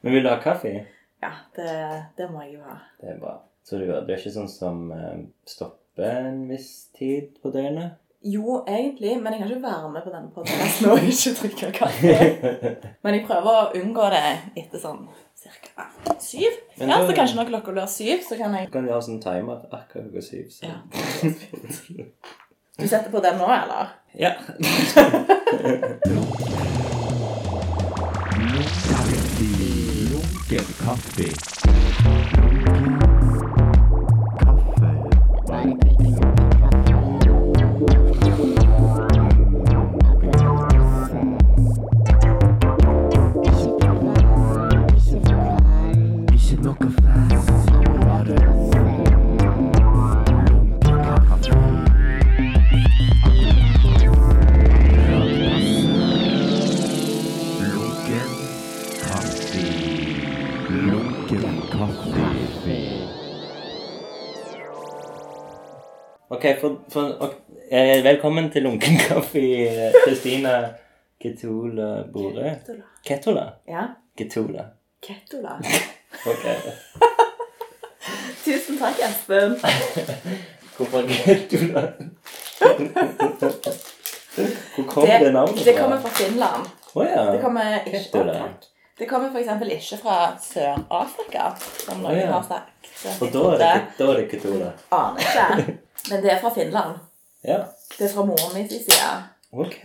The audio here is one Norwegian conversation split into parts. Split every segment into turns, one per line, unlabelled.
Men vil du ha kaffe?
Ja, det, det må jeg jo ha.
Det er bra. Så du, du er ikke sånn som eh, stopper en viss tid på døgnet?
Jo, egentlig, men jeg kan ikke være med på denne podkasten og ikke drikke kaffe.
Men
Men jeg prøver å unngå det etter sånn cirka syv.
Men
ja,
da-
så kanskje når klokka blir syv, så kan jeg
kan du ha sånn timer akkurat klokka syv. Så.
Ja. Du setter på den nå, eller?
ja.
Lunken kaffe. Ikke noe fast, bare lunken kaffe. Lunken kaffe. Lunken kaffe.
Ok, for, for, ok, eh, velkommen til Lunken kaffe, eh, Kristina Ketula Bore.
Ketula.
Ketula?
Ja.
Ketula.
Ketula.
Ok.
Tusen takk, Espen.
Hvorfor Ketula? Hvor kom det, navnet
det kommer fra Finland.
Å ja.
Det kommer ikke
Ketula.
Å, takk. Det kommer for eksempel ikke fra Sør-Afrika, som noen
Å, ja.
har sagt. Så
Og da er det, da er det Ketula.
Aner ikke. Men det er fra Finland.
Ja.
Det er fra moren min sin side.
Ok.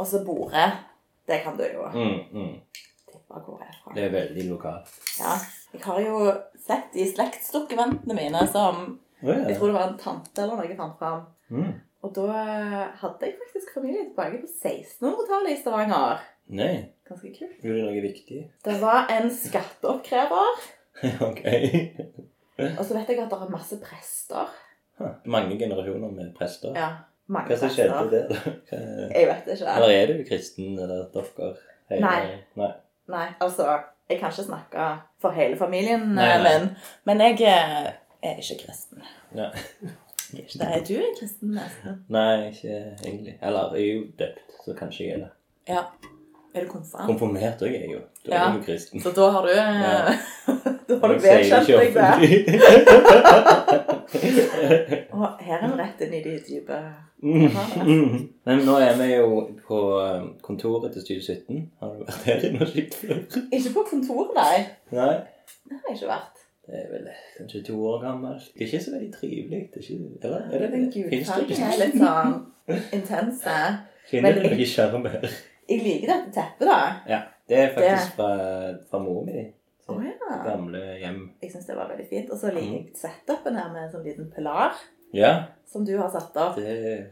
Og så Bore. Det kan du jo
Mm, mm.
tippe hvor jeg er fra.
Det er veldig lokalt.
Ja. Jeg har jo sett i slektsdokumentene mine som
Å ja.
Jeg tror det var en tante eller noe jeg fant fram.
Mm.
Og da hadde jeg faktisk familie tilbake på 1600-tallet i Stavanger.
Nei.
Ganske kult.
Gjorde du noe viktig?
Det var en skatteoppkrever.
ok.
Og så vet jeg at det er masse prester.
Huh. Mange generasjoner med prester.
Ja, mange
Hva som
prester.
skjedde der? Hva-
Jeg vet ikke.
Eller er du kristen, eller dere? Hele-
Nei.
Nei.
Nei, altså, jeg kan ikke snakke for hele familien
Nei,
eh,
nei.
min, men jeg eh, er ikke kristen.
Nei.
Jeg er ikke det. Er du en kristen, nesten?
Nei, ikke egentlig. Eller jeg er jo døpt, så kanskje jeg er det.
Ja. Er du konfirmant?
Konfirmert òg er jeg jo. Da
Ja.
er jeg jo kristen.
Så da har du
Ja.
eh, Da har
Men
du
jeg sier
vedkjent
det
deg
ikke
det.
offentlig.
Og her er vi rett inn i de dype
Mm. Men nå er vi jo på eh, kontoret til Studio 17. Har du vært her inne og sett før?
Ikke på kontor, nei.
Nei.
Det har jeg ikke vært.
Det er vel kanskje to år gammelt. Det er ikke så veldig trivelig. Det er ikke, eller er det
Den
det? Finnes det
gulfargen er
ikke-
litt sånn intens.
Finner du
veldig-
noe sjarm her?
Jeg liker dette teppet, da.
Ja. Det er faktisk fra, fra mor mi.
Å ja.
Gamle hjem.
Jeg syns det var veldig fint. Og så liker
Mm.
jeg setupen her med en sånn liten pilar
Ja,
som du har satt opp.
det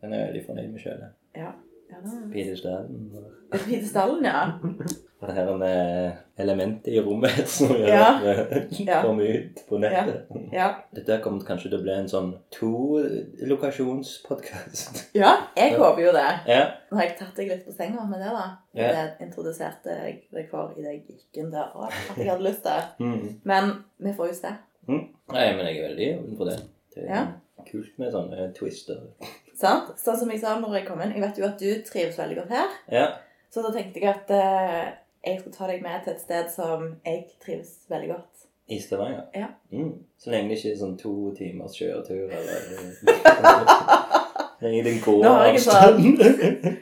den er jeg veldig fornøyd med sjøl.
Ja. ja da.
Pidestaden og
Hvite stallen, ja.
Mm. og det her med elementet i rommet som gjør
Ja.
at vi
Ja.
kommer ut på nettet.
Ja,
Dette her kommer kanskje til å bli en sånn to-lokasjonspodkast.
ja jeg
Ja.
håper jo det.
Ja.
Nå har jeg tatt deg litt på senga med det, da.
Ja.
Det introduserte jeg deg for idet jeg gikk inn døra. At jeg hadde lyst til.
Mm.
Men vi får jo se.
Nei, men jeg er veldig åpen for det. Det er
Ja.
kult med sånne twister.
Sant? Sånn som jeg sa når jeg kom inn. Jeg vet jo at du trives veldig godt her.
Ja.
Så da tenkte jeg at eh, jeg skulle ta deg med til et sted som jeg trives veldig godt.
I Stavanger?
Ja.
Mm. Så lenge det ikke er sånn to timers kjøretur eller Så lenge det går
Nå har jeg en
avstand.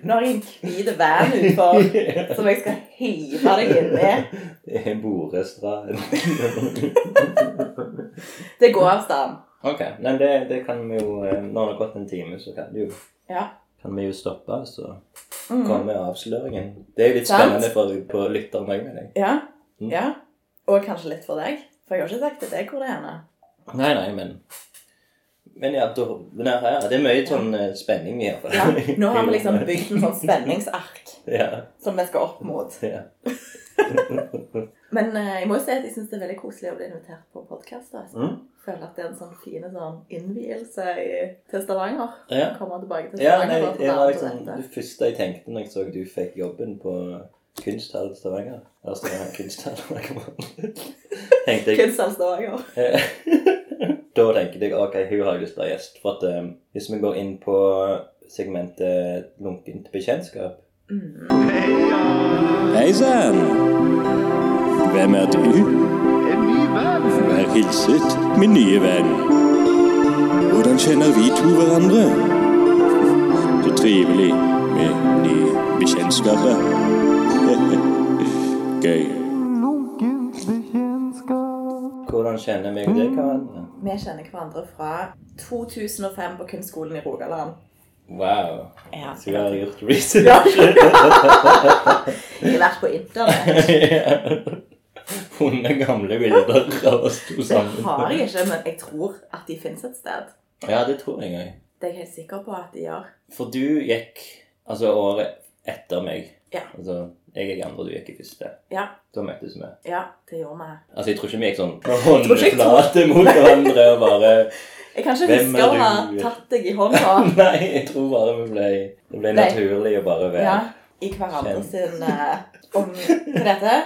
Nå har jeg en hvit van utfor som jeg skal hive deg inn i.
Det er borestrand.
Det går avstand.
ok, men det, det kan vi jo eh, Når det har gått en time, så kan, det jo,
Ja.
kan vi jo stoppe, så
Mm.
kommer avsløringen. Det er jo litt
Sant.
spennende for på lytteren òg, mener jeg.
ja.
Mm.
Ja. Og kanskje litt for deg. For jeg har ikke sagt til deg hvor det er. nå.
Nei, nei, men Men ja, da, men her, her, det er mye sånn eh, spenning i hvert fall.
Ja. Nå har vi liksom bygd en sånn spenningsark
ja,
som vi skal opp mot.
ja.
Men eh, jeg må jo si at jeg syns det er veldig koselig å bli invitert på podkast. Jeg
Mm.
føler at det er en sånn fin sånn innvielse i- til Stavanger.
ja.
Kommer tilbake til
Ja,
Stavanger.
nei,
bare for å
det
være
var
med
liksom
på dette.
det første jeg tenkte når jeg så du fikk jobben på Kunsthall Stavanger. Eller Stavanger Kunsthall. hva det var. tenkte jeg,
Kunsthall Stavanger.
eh, da tenkte jeg ok, hun har jeg lyst til å ha gjest. For at eh, hvis vi går inn på segmentet lunkent bekjentskap,
Mm.
Hei sann! Hvem er du?
En ny venn!
Vær hilset, min nye venn. Hvordan kjenner vi to hverandre? Så trivelig med nye bekjentskaper. Gøy.
Lunkent bekjentskap.
Hvordan kjenner meg og deg hverandre?
Vi kjenner hverandre fra 2005 på kunstskolen i Rogaland.
Wow.
Ja.
Så jeg har gjort
Ja.
research.
Jeg har vært på internett.
Funnet gamle bilder av oss to
Det
sammen.
har jeg ikke, men jeg tror at de finnes et sted.
Ja, det tror jeg òg.
Det er jeg helt sikker på at de gjør.
For du gikk altså året etter meg.
Ja.
Altså, jeg gikk andre, du gikk i første.
Ja,
Da møttes vi.
ja, det gjorde vi.
Altså, jeg tror ikke vi gikk sånn
tror ikke jeg tror-
håndflate mot hverandre og bare
Jeg kan ikke
Hvem
huske
er
å ha
du?
tatt deg i hånda
Nei, jeg tror bare vi ble Det ble
Nei.
naturlig å bare være
ja, i hverandre
Kjenn.
sin eh, om, Hva heter det?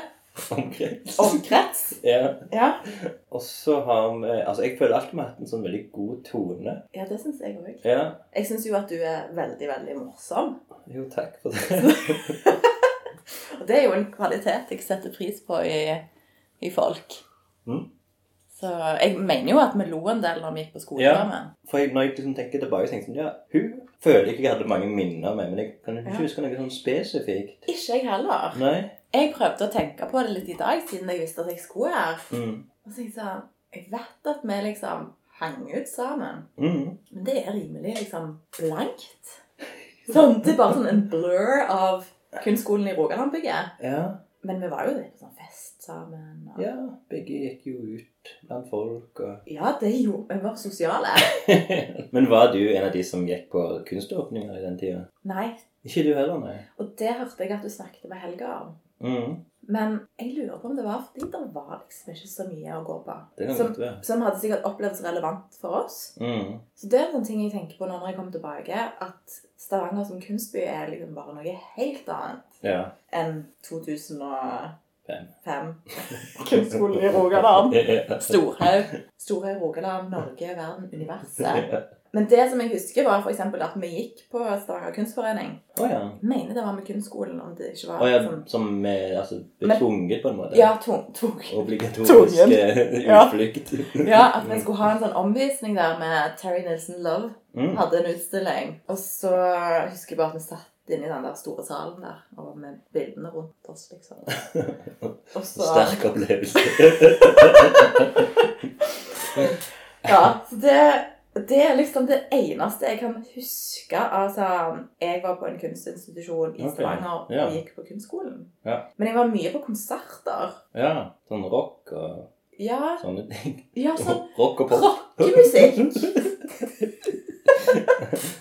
omkrets.
Omkrets?
Ja.
Ja,
Og så har vi Altså, jeg føler alltid vi har hatt en sånn veldig god tone.
ja det syns jeg òg.
Ja.
Jeg syns jo at du er veldig, veldig morsom.
Jo, takk for det.
Og det er jo en kvalitet jeg setter pris på i, i folk.
Mm.
Så jeg mener jo at vi lo en del når vi gikk på skolen
Ja.
sammen.
For jeg, når jeg liksom tenker tilbake, så tenkte jeg sånn Ja, hun føler ikke jeg hadde mange minner med, men jeg kan ikke
Ja.
huske noe sånn spesifikt.
Ikke jeg heller.
Nei?
Jeg prøvde å tenke på det litt i dag, siden jeg visste at jeg skulle her.
Mm.
Og så tenkte jeg sånn Jeg vet at vi liksom hang ut sammen,
Mm.
men det er rimelig liksom blankt. Sånn, det er bare sånn en blur av kunstskolen i Rogaland-bygget.
Ja.
Men vi var jo litt på sånn fest sammen. Og...
Ja, begge gikk jo ut blant folk og
ja, det gjorde vi. Vi var sosiale.
Men var du en av de som gikk på kunståpninger i den tida?
Nei,
Ikke du heller, nei.
Og det hørte jeg at du snakket med Helga om.
Mm.
Men jeg lurer på om det var fordi det var liksom ikke så mye å gå på.
Det kan
Som,
godt være.
som hadde sikkert opplevdes relevant for oss.
Mm.
Så det er noen ting jeg tenker på nå når jeg kommer tilbake, at Stavanger som kunstby er liksom bare noe helt annet
Ja.
enn 2005
Fem.
Kunstskolen i Rogaland.
Ja.
Storhaug. Storhaug, Rogaland, Norge, verden, universet. Men det som jeg husker, var f.eks. at vi gikk på Stavanger kunstforening.
Å ja.
Jeg mener det var med kunstskolen, om det ikke var
Å ja,
sånn
som eh, altså
Men-
betvunget, på en måte?
Ja, tung, tung.
Obligatorisk
Tvungen.
eh,
Ja.
utflukt.
Ja, at vi skulle ha en sånn omvisning der med Terry Nilsen Love.
Mm.
Hadde en utstilling. Og så husker jeg bare at vi satt inne i den der store salen der, og med bildene rundt oss, liksom. Og så,
Sterk opplevelse.
ja, så det, det er liksom det eneste jeg kan huske. Altså, jeg var på en kunstinstitusjon i
Ok,
Stavanger
ja.
og gikk på kunstskolen.
Ja.
Men jeg var mye på konserter.
Ja. Sånn rock og
Ja,
sånne ting.
ja sånn
Rock og pop.
rockemusikk.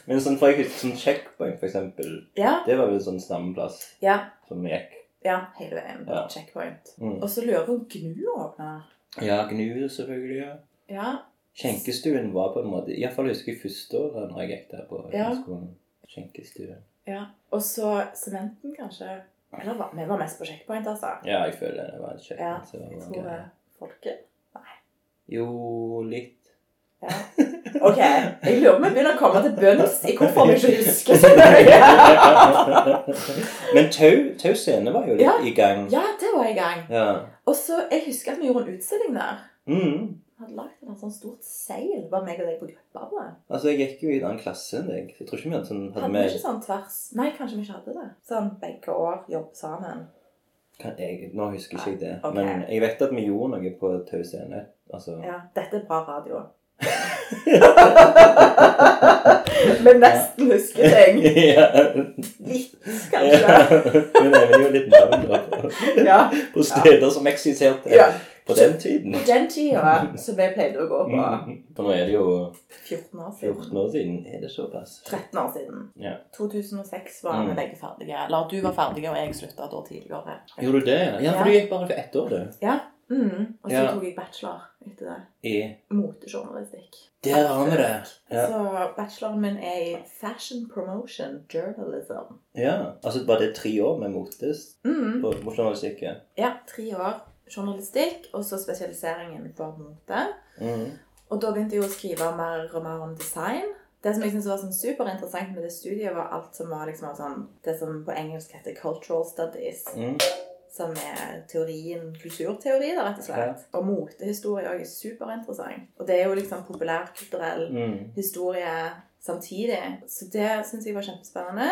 Men sånn, for jeg husker sånn checkpoint, for eksempel.
Ja,
Det var jo sånn stammeplass
ja,
som gikk.
ja, hele veien.
Ja.
Checkpoint.
Mm.
Og så lurer jeg på om Gnu åpna.
Ja, Gnu selvfølgelig. ja.
Ja,
Skjenkestuen var på en måte Iallfall husker jeg første året når jeg gikk der på
Ja.
skolen. Skjenkestuen.
ja. Og så Sementen, kanskje. Eller hva? Vi var mest på checkpoint, altså.
Ja, jeg føler det var en kjekk
Ja,
så det var
Jeg tror
gøy.
det. Folket.
Jo, litt.
Ja. OK. Jeg lurer på om vi begynner å komme til bunns i hvorfor vi ikke husker så mye.
Men Tau Tau scene var jo litt
Ja.
i gang.
Ja, det var i gang.
Ja.
Og så, Jeg husker at vi gjorde en utstilling der.
Mm.
Vi hadde lagd en sånn stort seil. Var meg og deg på gruppa på.
Altså, jeg gikk jo i en annen klasse enn deg. så Jeg tror ikke vi hadde sånn
Hadde
hadde
vi ikke
vi,
sånn tvers Nei, kanskje vi ikke hadde det. Sånn begge år, jobbe sammen.
kan jeg, Nå husker ikke jeg det.
Ok.
Men jeg vet at vi gjorde noe på Tau scene. Altså
Ja, dette er bra radio. Men nesten husker ting.
Ja.
Litt,
Ja.
kanskje.
Vi nevner jo litt navn da, på,
Ja.
på steder som eksisterte
ja.
på den tiden. Mm.
På den tida som jeg pleide å gå på
For nå er det jo
14 Mm. år siden.
14 år siden. Er det såpass?
13 år siden.
Ja.
2006 var vi
Mm.
begge ferdige. Eller du var ferdig, og jeg slutta da tidligere.
Gjorde du det? Ja, for
Ja.
du gikk bare for ett år, du.
Ja. Mm. Og så
Ja.
tok jeg bachelor etter det.
I
Motejournalistikk.
Der har vi det! Ja.
Så bacheloren min er i fashion promotion journalism.
ja. Altså, var det tre år med motes
Mm.
på på journalistikk? ja?
Ja, tre år journalistikk, og så spesialisering innenfor mote.
Mm.
Og da begynte jeg å skrive mer og mer om design. Det som jeg synes var sånn superinteressant med det studiet, var alt som var liksom av sånn, det som på engelsk heter 'cultural studies'.
Mm.
Som er teorien, kulturteori, da, rett og slett. Og motehistorie òg er superinteressant. Og det er jo liksom populærkulturell
Mm.
historie samtidig. Så det syns jeg var kjempespennende.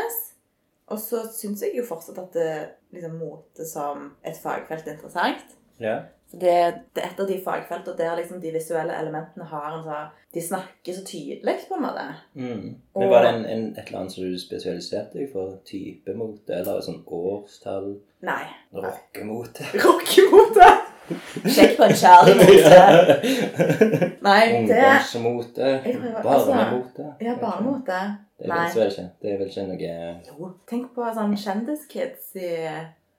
Og så syns jeg jo fortsatt at det, liksom, mote som et fagfelt er interessant.
Ja.
For det, det er et av de fagfeltene der liksom de visuelle elementene har en sånn De snakker så tydelig, på en måte.
Mm.
Og-
Men var det en, en, et eller annet som du spesialiserte deg for? Type mote, eller sånn årstall?
Nei.
Rockemote?
Rockemote! Sjekk på en kjærligmote.
Oh
Nei, det
Ungdomsmote?
Jeg prøver- altså,
Barnemote?
Ja, barnemote.
Det
Nei.
fins vel ikke. Det er vel ikke noe
Jo, tenk på sånn kjendiskids i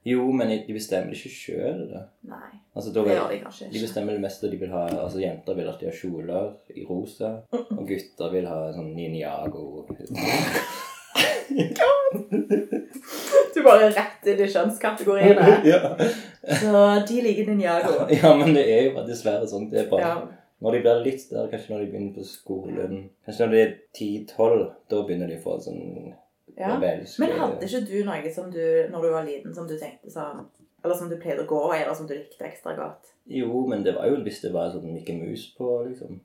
Jo, men de bestemmer det ikke sjøl, da.
Nei,
Altså, da
det
vil,
gjør de kanskje
de
ikke.
bestemmer det meste de vil ha. Altså, Jenter vil alltid ha kjoler i rosa,
Mm,
og gutter vil ha sånn Ninjago.
Du bare rett inn i kjønnskategoriene.
ja.
Så de liker Ninjago.
ja, men det er jo bare dessverre sånn. Det er bare
Ja.
Når de blir litt større, kanskje når de begynner på skolen Kanskje når de er 10-12, da begynner de å få sånn
ja.
rebelske
Men hadde ikke du noe som du, når du var liten, som du tenkte sånn Eller som du pleide å gå i, eller som du likte ekstra godt?
Jo, men det var jo hvis det var sånn Mikke Mus på, liksom.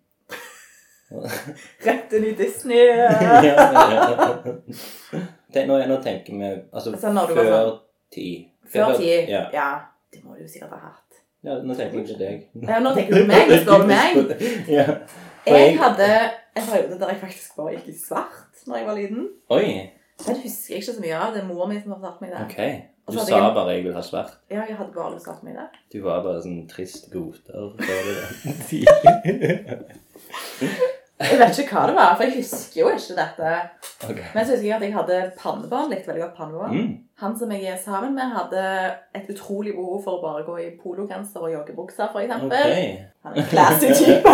Rett inn i Disney!
ja, ja. Tenk, nå, nå tenker vi Altså,
Altså, når du var
før
sånn-
ti.
Før ti.
Ja.
Ja. Det må du jo sikkert ha hatt.
ja. Nå tenker jeg på deg.
Ja, nå tenker du på meg. Nå står du meg.
ja. For
Jeg
jeg-
hadde en periode der jeg faktisk bare gikk i svart når jeg var liten.
Oi.
Den husker jeg ikke så mye av. Det er mor mi som har fortalt meg det.
Ok.
Og
Du
så hadde
sa
jeg-
bare 'jeg vil ha svart'.
Ja, jeg hadde bare lyst til å ha meg det.
Du var bare sånn trist goter. sa du det?
Jeg vet ikke hva det var, for jeg husker jo ikke dette.
Ok.
Men så husker jeg at jeg hadde pannebånd. Likte veldig godt pannebånd.
Mm.
Han som jeg er sammen med, hadde et utrolig behov for å bare gå i pologenser og joggebukser, for eksempel.
Ok.
Han er en classy type.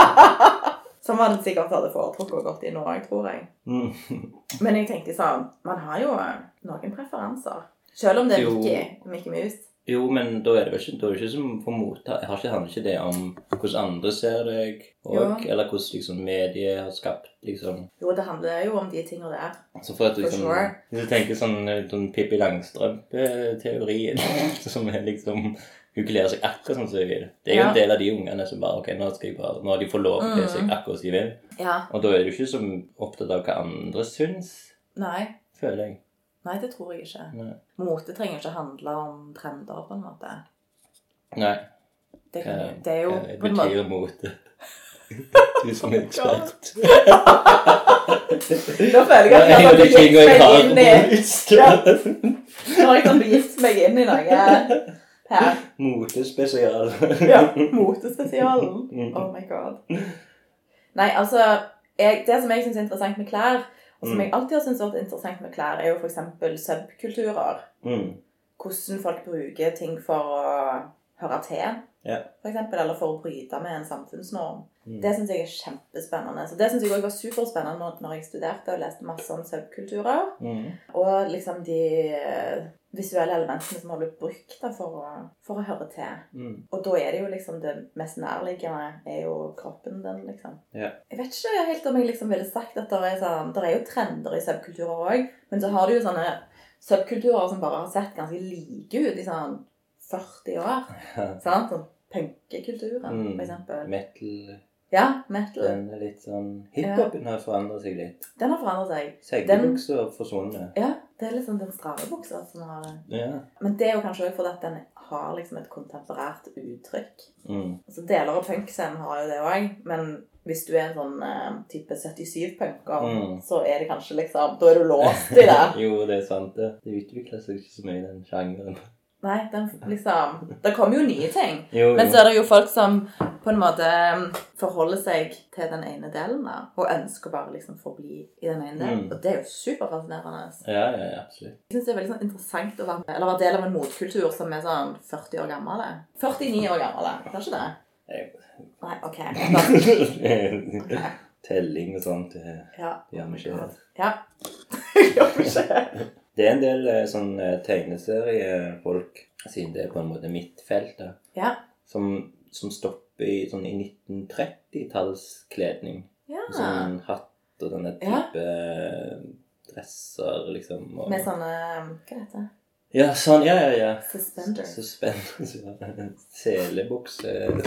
som han sikkert hadde foretrukket å gått inn òg, tror jeg.
Mm.
Men jeg tenkte sånn Man har jo noen preferanser. Selv om det er
Jo.
Mickey, Mickey Mouse.
Jo, men da er det vel ikke, da er det ikke som for motta. Har ikke, handler ikke det om hvordan andre ser deg, og,
Jo.
eller hvordan liksom, mediet har skapt liksom
Jo, det handler jo om de tinga der.
Altså for at du
For
liksom,
sure.
Hvis du tenker sånn, eh, sånn Pippi Langstrømpe-teorien, som er liksom Hun gleder seg akkurat sånn som hun vil. Det er jo
Ja. Mm.
en del av de ungene som bare ok, nå skal jeg bare, nå har de fått lov til å kle seg akkurat som de vil.
Ja.
Og da er du ikke så opptatt av hva andre syns,
Nei.
føler jeg.
Nei, det tror jeg ikke.
Nei.
Mote trenger ikke handle om trender, på en måte.
Nei.
Det, kan,
Hva-
det er jo
hva
på en måte
betyr mote? Du som er ekspert.
Nå føler jeg at jeg har blitt gift meg inn i Nå har jeg sånn begitt meg inn i noe her.
Motespesial.
Ja, Motespesialen. Oh my god. Nei, altså jeg, Det som jeg syns er interessant med klær, og som
Mm.
jeg alltid har syntes vært interessant med klær, er jo f.eks. subkulturer.
Mm.
Hvordan folk bruker ting for å høre til,
Ja.
for eksempel, eller for å bryte med en samfunnsnorm.
Mm.
Det syns jeg er kjempespennende. Så det syns jeg også var superspennende når- når jeg studerte og leste masse om subkulturer.
Mm.
Og liksom de eh, visuelle elementene som har blitt brukt da, for, å, for å høre til.
Mm.
Og da er det jo liksom det mest nærliggende er jo kroppen den, liksom.
Ja.
Jeg vet ikke helt om jeg liksom ville sagt at det er sånn Det er jo trender i subkulturer òg, men så har du jo sånne subkulturer som bare har sett ganske like ut i sånn 40 år. Sant? Sånn punkekulturen,
Mm.
for eksempel.
Metal.
Ja, metal.
Den er litt sånn Hiphopen har forandret seg litt.
Den har forandret seg.
Seggebukser har forsvunnet.
Ja, det er liksom den stramme buksa som har
Ja.
Men det er jo kanskje også fordi at den har liksom et kontemporært uttrykk.
Mm.
Altså Deler av punkscenen har jo det òg, men hvis du er en sånn eh, type 77-punker,
Mm.
så er det kanskje liksom Da er du låst i det.
Jo, det er sant, det. Det utvikler seg ikke så mye, i den sjangeren.
Nei, den liksom Det kommer jo nye ting.
Jo,
Men så
jo.
er det jo folk som på en måte eh, forholder seg til den ene delen da, og ønsker bare liksom forbli i den ene delen.
Mm.
Og det er jo superfascinerende.
Ja, ja, ja, absolutt.
Jeg syns det er veldig sånn interessant å være, eller være del av en motkultur som er sånn 40 år gammel. 49 år gammel, er det ikke det? Nei, OK. Da-
Telling og sånt. det-
Ja.
Det gjør vi ikke helt.
Ja. Gjør vi ikke.
Det er en del eh, sånn eh, tegneseriefolk, siden det er på en måte mitt felt, da,
Ja.
som, som stopper i, sånn, i 1930-tallskledning.
ja.
Sånn hatt og denne
Ah. Ja.
type eh, dresser, liksom. Og...
Med sånne um, Hva heter det?
Ja, sånn. Ja, ja, ja.
Suspender.
Suspender. Selebukse Er det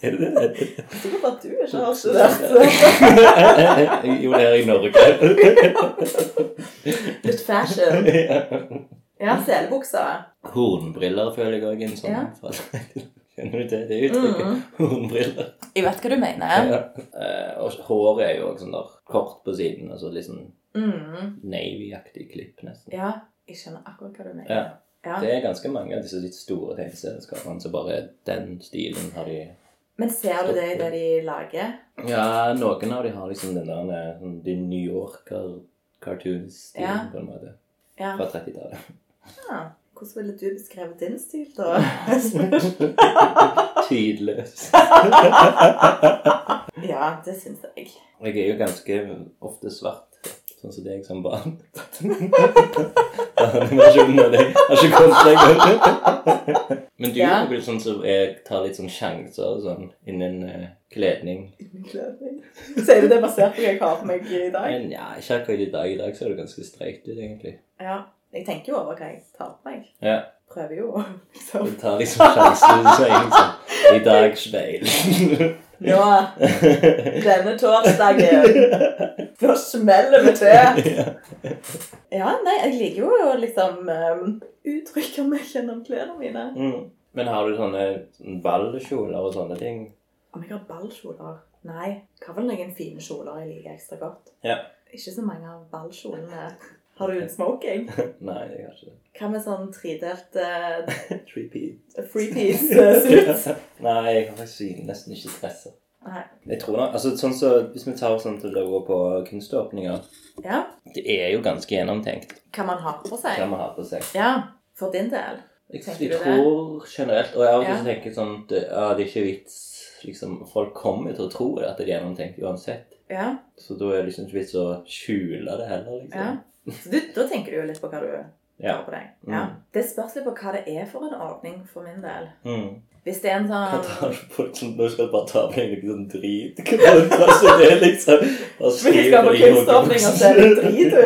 det?
Sikkert at du ikke har studert
jo, det er i Norge.
litt fashion. Ja, selebukser.
Hornbriller føler jeg òg er en sånn. Kjenner du til det uttrykket? Hornbriller.
Mm. Jeg vet hva du mener.
Ja. Eh, og håret er jo også sånn der kort på siden, altså litt sånn
Mm.
navy-aktig klipp, nesten.
Ja, jeg skjønner akkurat hva du
Ja.
mener. Ja.
Det er ganske mange av disse litt store tegneserieskaperne som bare den stilen har de
Men ser du det i det de lager?
Ja, noen av de har liksom den der eh, sånn de New Yorker cartoon-stilen,
Ja.
på en måte.
Ja.
Fra 30-tallet.
ja. Hvordan ville du beskrevet din stil, da?
Tidløs.
ja, det syns jeg.
Jeg er jo ganske ofte svart, sånn som deg som barn. Animasjonen av deg har ikke kommet seg godt. Men du
Ja.
er vel sånn som jeg tar litt sånn sjanser og sånn innen eh, kledning.
Sier du det basert på hva jeg har på meg i dag?
Men ja, ikke akkurat i dag. I dag ser du ganske streit ut, egentlig.
Ja. Jeg tenker jo over hva jeg tar på meg.
Ja.
Prøver jo å liksom
Du tar liksom sjanser, du sier liksom I dag speil.
Nå, denne torsdagen, nå smeller vi til! Ja, nei, jeg liker jo å liksom ehm, uttrykke meg gjennom klærne mine.
Mm. Men har du sånne sånn ballkjoler og sånne ting?
Om jeg har ballkjoler? Nei. Hva var det noen fine kjoler jeg liker ekstra godt?
Ja.
Ikke så mange av ballkjolene. Har du en smoking?
Nei, jeg har ikke det.
Hva med sånn tredelt eh,
Three-piece.
free piece-suit?
Nei, jeg har faktisk nesten ikke stresser.
Nei.
Jeg tror nok, altså sånn så, Hvis vi tar sånn til å gå på kunståpninger
Ja.
Det er jo ganske gjennomtenkt
Hva man har på
hva
seg?
vi har på seg.
Ja. For din del?
Jeg,
Tenker
jeg
du det?
tror generelt Og jeg har
Ja.
også tenkt sånn at ja, det er ikke vits liksom, Folk kommer til å tro det at det er gjennomtenkt uansett.
Ja.
Så da er det liksom ikke vits å skjule det heller,
ja.
liksom.
Så du, da tenker du jo litt på hva du har på deg. Ja.
Mm.
Det spørs litt på hva det er for en ordning for min del.
Mm.
Hvis det er en
Hva
sånn
tar du på deg som- Nå skal du bare ta på deg noe sånn drit. Hva hva så det er, liksom? Bare
Hvis jeg skal på
skriveri og
kunståpning og se litt drit ut,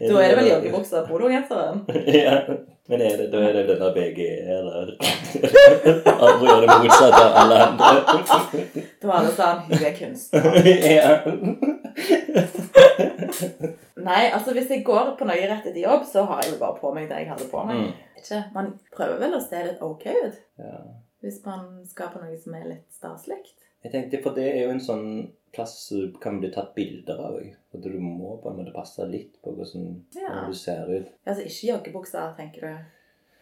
joggebukser.
da er det vel joggebukse og pologenseren.
Ja. Men er det, da er det denne BGE, eller Andre gjør det motsatte av alle andre.
Da var alle sånn Hun er kunstner.
ja.
Nei, altså hvis jeg går på noe rett etter jobb, så har jeg jo bare på meg det jeg hadde på meg.
Mm.
Ikke? Man prøver vel å se litt ok ut
ja.
hvis man skal på noe som er litt staselig.
Jeg tenkte, for det er jo en sånn plass som kan bli tatt bilder av. ikke? At du må på en måte passe litt på hvordan
Ja.
hvordan du ser ut.
Altså ikke joggebukser, tenker du.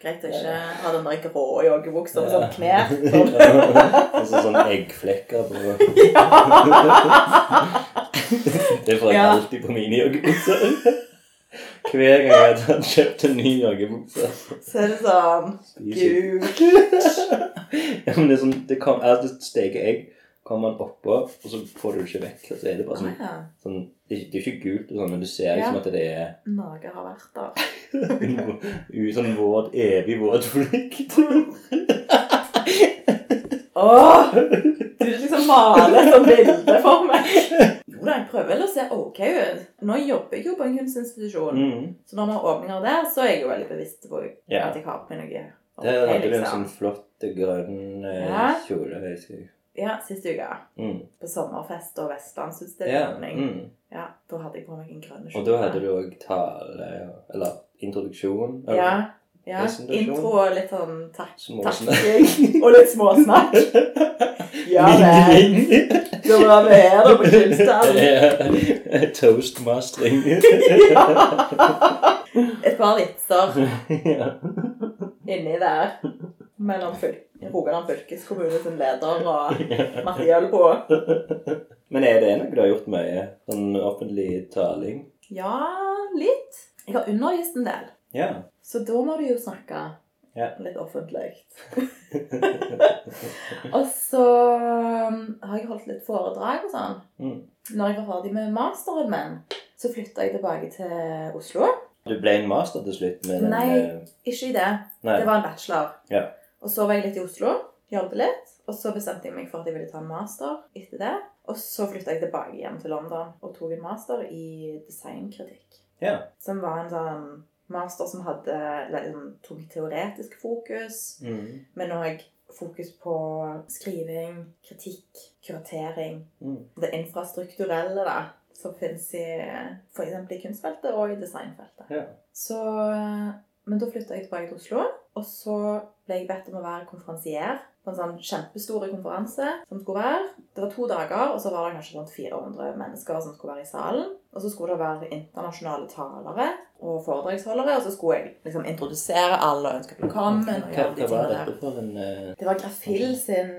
Greit å ikke ha den der grå joggebuksa med sånn knep. Sånn.
Og så sånne Altså sånn eggflekker på Det får jeg
Ja.
alltid på mine joggebukser. Hver gang jeg har kjøpt en ny joggebukse.
Så er det sånn
spiser jeg-
Gud.
Ja, men det er sånn, det kom, altså, det steker egg, kommer den oppå, og så får du det ikke vekk. Og så er det bare sånn,
Ja,
sånn det, er ikke- det er ikke gult, og sånn, men du ser liksom
Ja.
at det er
Norge har vært der.
en u- sånn våt, evig våt flukt.
Åh! Du liksom maler sånn bilde for meg. Jo da, jeg prøver vel å se ok ut. Nå jobber jeg jo på en kunstinstitusjon.
Mm.
Så når vi har åpninger der, så er jeg jo veldig bevisst på at
Ja.
jeg har på meg noe.
Der
Ok,
hadde du en
liksom.
sånn flott grønn eh,
Ja.
kjole, husker jeg.
Ja, sist uke.
Mm.
På sommerfest og
Ja,
vestlandsutstillingåpning. Ja,
mm.
da hadde jeg på meg en grønn skjorte.
Og da hadde du òg tale Eller introduksjon. eller
Ja, ja.
Presentasjon.
Intro og litt sånn takk.
Småsnakk.
Takking og litt småsnakk. Ja vel.
Mingling.
Da var vi her, da, på Kunsthallen.
Ja, Toastmastering.
Et par vitser
Ja.
inni der mellom fyl Rogaland fylkeskommune sin leder og Marte Gjølbo.
Men er det noe du har gjort mye? Sånn offentlig taling?
Ja, litt. Jeg har undervist en del.
Ja.
Så da må du jo snakke
Ja.
litt offentlig. og så um, har jeg holdt litt foredrag og sånn.
Mm.
Når jeg var ferdig med masteren min, så flytta jeg tilbake til Oslo.
Du ble en master til slutt med den
Nei.
eh,
Ikke i det.
Nei.
Det var en bachelor.
Ja.
Og så var jeg litt i Oslo. jobbet litt. Og så bestemte jeg meg for at jeg ville ta en master etter det. Og så flytta jeg tilbake hjem til London og tok en master i designkritikk.
Ja.
Som var en sånn master som hadde liksom, tok teoretisk fokus,
Mm.
men òg fokus på skriving, kritikk, kuratering.
Mm.
Det infrastrukturelle da, som fins i f.eks. i kunstfeltet og i designfeltet.
Ja.
Så, eh, men da flytta jeg tilbake til Oslo, og så ble jeg bedt om å være konferansier på en sånn kjempestor konferanse som skulle være. Det var to dager, og så var det kanskje rundt 400 mennesker som skulle være i salen. Og så skulle det være internasjonale talere og foredragsholdere, og så skulle jeg liksom introdusere alle og ønske velkommen.
Hva,
og gjøre de
hva var
tingene der.
dette for en eh,
Det var Grafill sin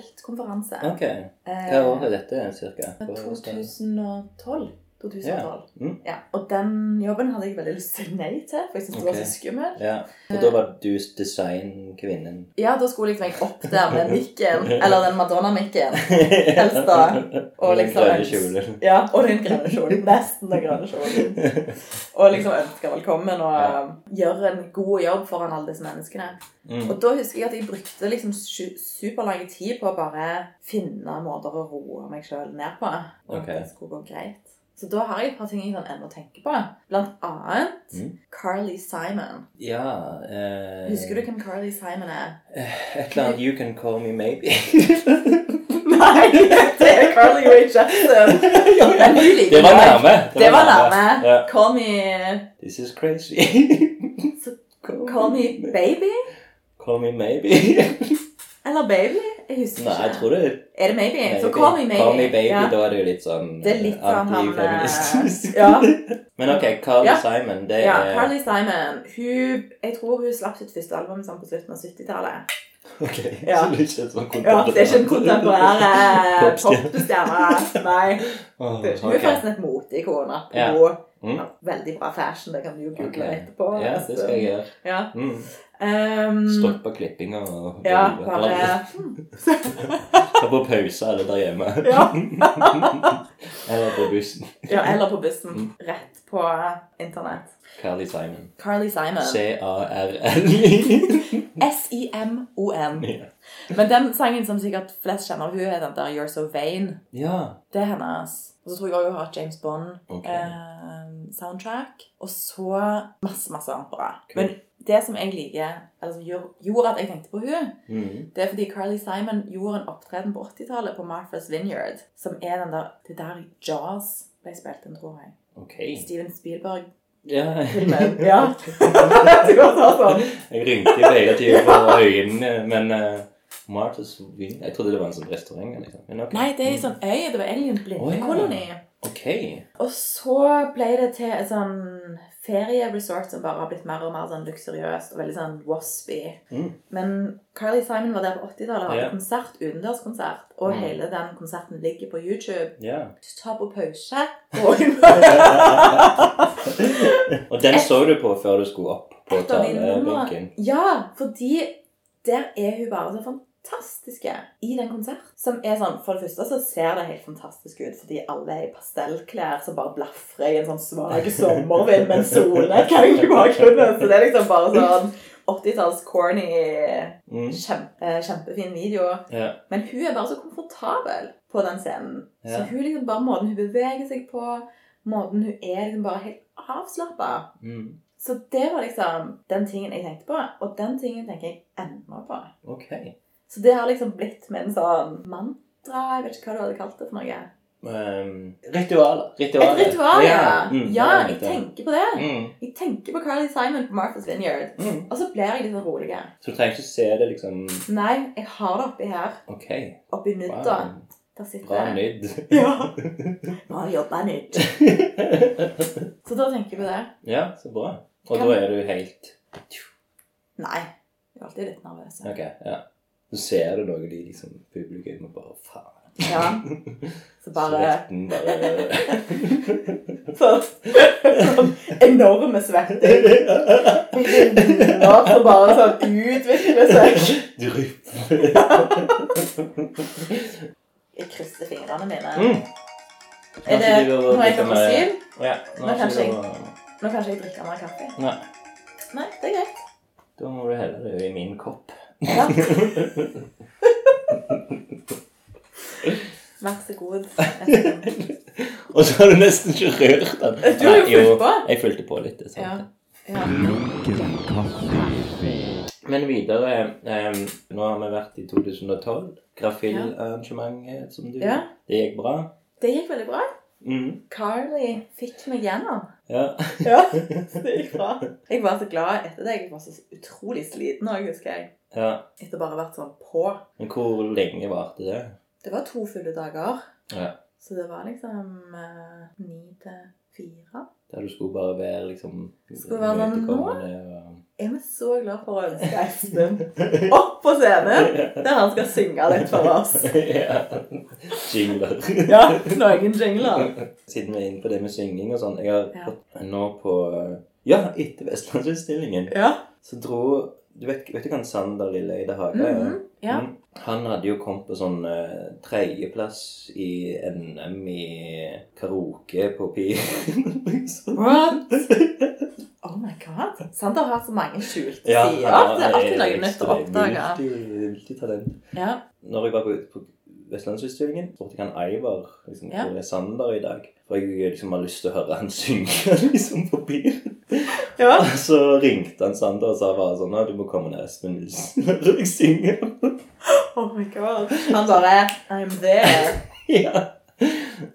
visuelt-konferanse.
Ok.
Eh,
Hva år er dette, cirka? Hva år er det?
2012. 2012.
Mm.
Ja, og den jobben hadde jeg veldig lyst til å si nei til, for jeg syntes det var
Ok.
så skummelt.
Ja. Og da var du designkvinnen.
Ja, da skulle liksom jeg opp der med mikken, eller den Madonna-mikken, helst da. Og
Den
liksom
grønne kjolen.
Ja, og den grønne kjolen. Nesten den grønne kjolen. Og liksom ønske velkommen og
Ja.
um, gjøre en god jobb foran alle disse menneskene.
Mm.
Og da husker jeg at jeg brukte liksom su- superlang tid på å bare finne måter å roe meg sjøl ned på. Og
Ok.
at det skulle gå greit. Så da har jeg et par ting jeg sånn ennå tenker på. Blant annet
Mm.
Carly Simon.
Ja eh,
Husker du hvem Carly Simon er?
Et eller annet You Can Call Me Maybe.
Nei, det er Carly Rae Jepsen. Men hun liker
Det var
meg.
nærme.
Det var nærme.
Ja.
Call me
This is crazy.
Call me baby?
Call me maybe.
Eller baby? Jeg husker
Nei, jeg
ikke.
tror det er
Er det maybe? Så call me maybe.
Call me baby,
Ja.
da er det jo litt sånn eh,
Det er litt sånn han
antifeministisk.
eh, Ja.
Men ok, Carly
Ja.
Simon, det
Ja,
er
Carly Simon. Hun, jeg tror hun slapp sitt første album sånn på slutten av 70-tallet.
Ok,
Ja.
så det er ikke et sånt
Ja, det er ikke en kontemporær eh,
Popstjerne.
popstjerne. altså, Nei.
Åh,
Hun
ok.
er forresten et moteikon.
Ja.
apropos.
Mm.
Ja, Veldig bra fashion. Det kan du jo google
Ok.
etterpå. altså.
Ja, det skal jeg gjøre.
Ja.
Mm.
Um,
Stoppe klippinga og
Ja,
drive.
bare
Ta på pause alle der hjemme.
ja.
Eller på bussen.
ja, eller på
Mm.
bussen. Rett på internett.
Carly Simon.
Carly Simon.
C-A-R-L.
S-I-M-O-N.
Ja.
Men den sangen som sikkert flest kjenner, hun er den der 'You're So Vain'.
ja.
Det er hennes. Og så tror jeg også hun har et James
Ok.
Bond-soundtrack. og så masse, masse annet bra.
Kult.
Men det som jeg liker, eller som gjør- gjorde at jeg tenkte på hun,
Mm.
det er fordi Carly Simon gjorde en opptreden på 80-tallet på Martha's Vineyard, som er den der, det der Jaws ble spilt inn, tror jeg.
Ok.
Steven Spielberg.
Ja.
filmen. Ja. du kan ta sånn.
Jeg rynker begge tider på øynene, men uh, Martha's Vineyard Jeg trodde det var en sånn restaurant. Liksom. Men ok.
Nei, det er en sånn øy. Det var egentlig en blindekoloni.
Ok.
Og så ble det til et sånn ferieresort som bare har blitt mer og mer sånn luksuriøst og veldig sånn waspy.
Mm.
Men Carly Simon var der på 80-tallet og hadde
Ja.
konsert, utendørskonsert. Og
Mm.
hele den konserten ligger på YouTube.
Ja.
Du tar på pause og
Og den så du på før du skulle opp på eh,
Et av de
talebenken?
numrene- Ja, fordi der er hun bare så fantastiske i den konsert. Som er sånn, For det første så ser det helt fantastisk ut fordi alle er i pastellklær som bare blafrer i en sånn svak sommervind med en solnedgang i bakgrunnen. Så det er liksom bare sånn 80-talls corny,
Mm.
kjempe, kjempefin video.
Ja.
Men hun er bare så komfortabel på den scenen. Så
Ja.
hun liksom bare Måten hun beveger seg på, måten hun er liksom bare helt avslappa.
Mm.
Så det var liksom den tingen jeg tenkte på, og den tingen tenker jeg ennå på.
Ok.
Så det har liksom blitt min sånn mantra Jeg vet ikke hva du hadde kalt det for noe.
Um, ritualer.
Et
ritualer.
ritual, ja.
Mm,
Ja,
det
jeg
er det.
tenker på det.
Mm.
Jeg tenker på Carly Simon på Martha's Vineyard.
Mm.
Og så blir jeg litt sånn rolig.
Så du trenger ikke se det liksom
Nei, jeg har det oppi her.
Ok.
Oppi
Wow.
nudda. Der
Bra
sitter
nydd.
Ja. Bra jobba, nudd. Så da tenker jeg på det.
ja, så bra. Og
Kan-
da er du helt
Nei. Jeg er alltid litt nervøs.
Ok, ja. Så ser du noe de liksom Publikum og bare faen.
Ja. Så bare
Svetten bare
Sånn sånn enorme svetting. Rart som bare sånn utvikler seg.
drypper.
Jeg krysser fingrene mine.
Mm.
Er det, nå er jeg klokka syv.
Ja, nå
Nå
er
kanskje
ikke
jeg-
det bare-
Nå kan ikke jeg drikke mer kaffe.
Nei,
Nei, det er greit.
da må du helle det i min kopp.
Ja. Vær så god. Espen.
Og så har du nesten ikke rørt den.
Du har
Nei,
jo fulgt på.
Jeg fulgte på litt. det er sant,
Ja.
det.
Ja.
Lunken kaffe.
Men videre em, Nå har vi vært i 2012. Grafill-arrangementet som du
Ja.
Det gikk bra.
Det gikk veldig bra.
Mhm.
Carly fikk meg gjennom.
Ja.
Ja, det gikk bra. Jeg var så glad etter det. Jeg var så utrolig sliten òg, husker jeg.
ja.
Etter bare å ha vært sånn på.
Men hvor lenge varte det?
Det var to fulle dager.
Ja.
Så det var liksom eh, ni til fire.
Der du skulle bare være liksom
Skulle være sånn,
imøtekommende og-
Jeg er så glad for å ønske Espen opp på scenen, der han skal synge litt for oss.
ja. Jingler.
Ja, noen jingler.
Siden vi er inne på det med synging og sånn Jeg har
Ja.
fått nå på eh, Ja, etter Vestlandsutstillingen
Ja.
så dro Du vet, vet du hvem Sander Lilleide Hage er?
Mhm, ja.
Mm. Han hadde jo kommet på sånn eh, tredjeplass i NM i karaoke på Piren. liksom.
What? Oh my god. Sander har så mange skjulte sider. det er alltid noe nytt å oppdage.
multi- Multitalent.
Ja.
Når jeg var på, på Vestlandsutstillingen, spurte jeg han Ivar liksom,
Ja.
hvor er Sander i dag. For jeg liksom har lyst til å høre han synge liksom, på Piren.
ja.
Og så ringte han Sander og sa bare sånn «Nå, Du må komme ned, Espen Nilsen. Hører jeg synge.
Oh my god. Han bare I'm there.
ja.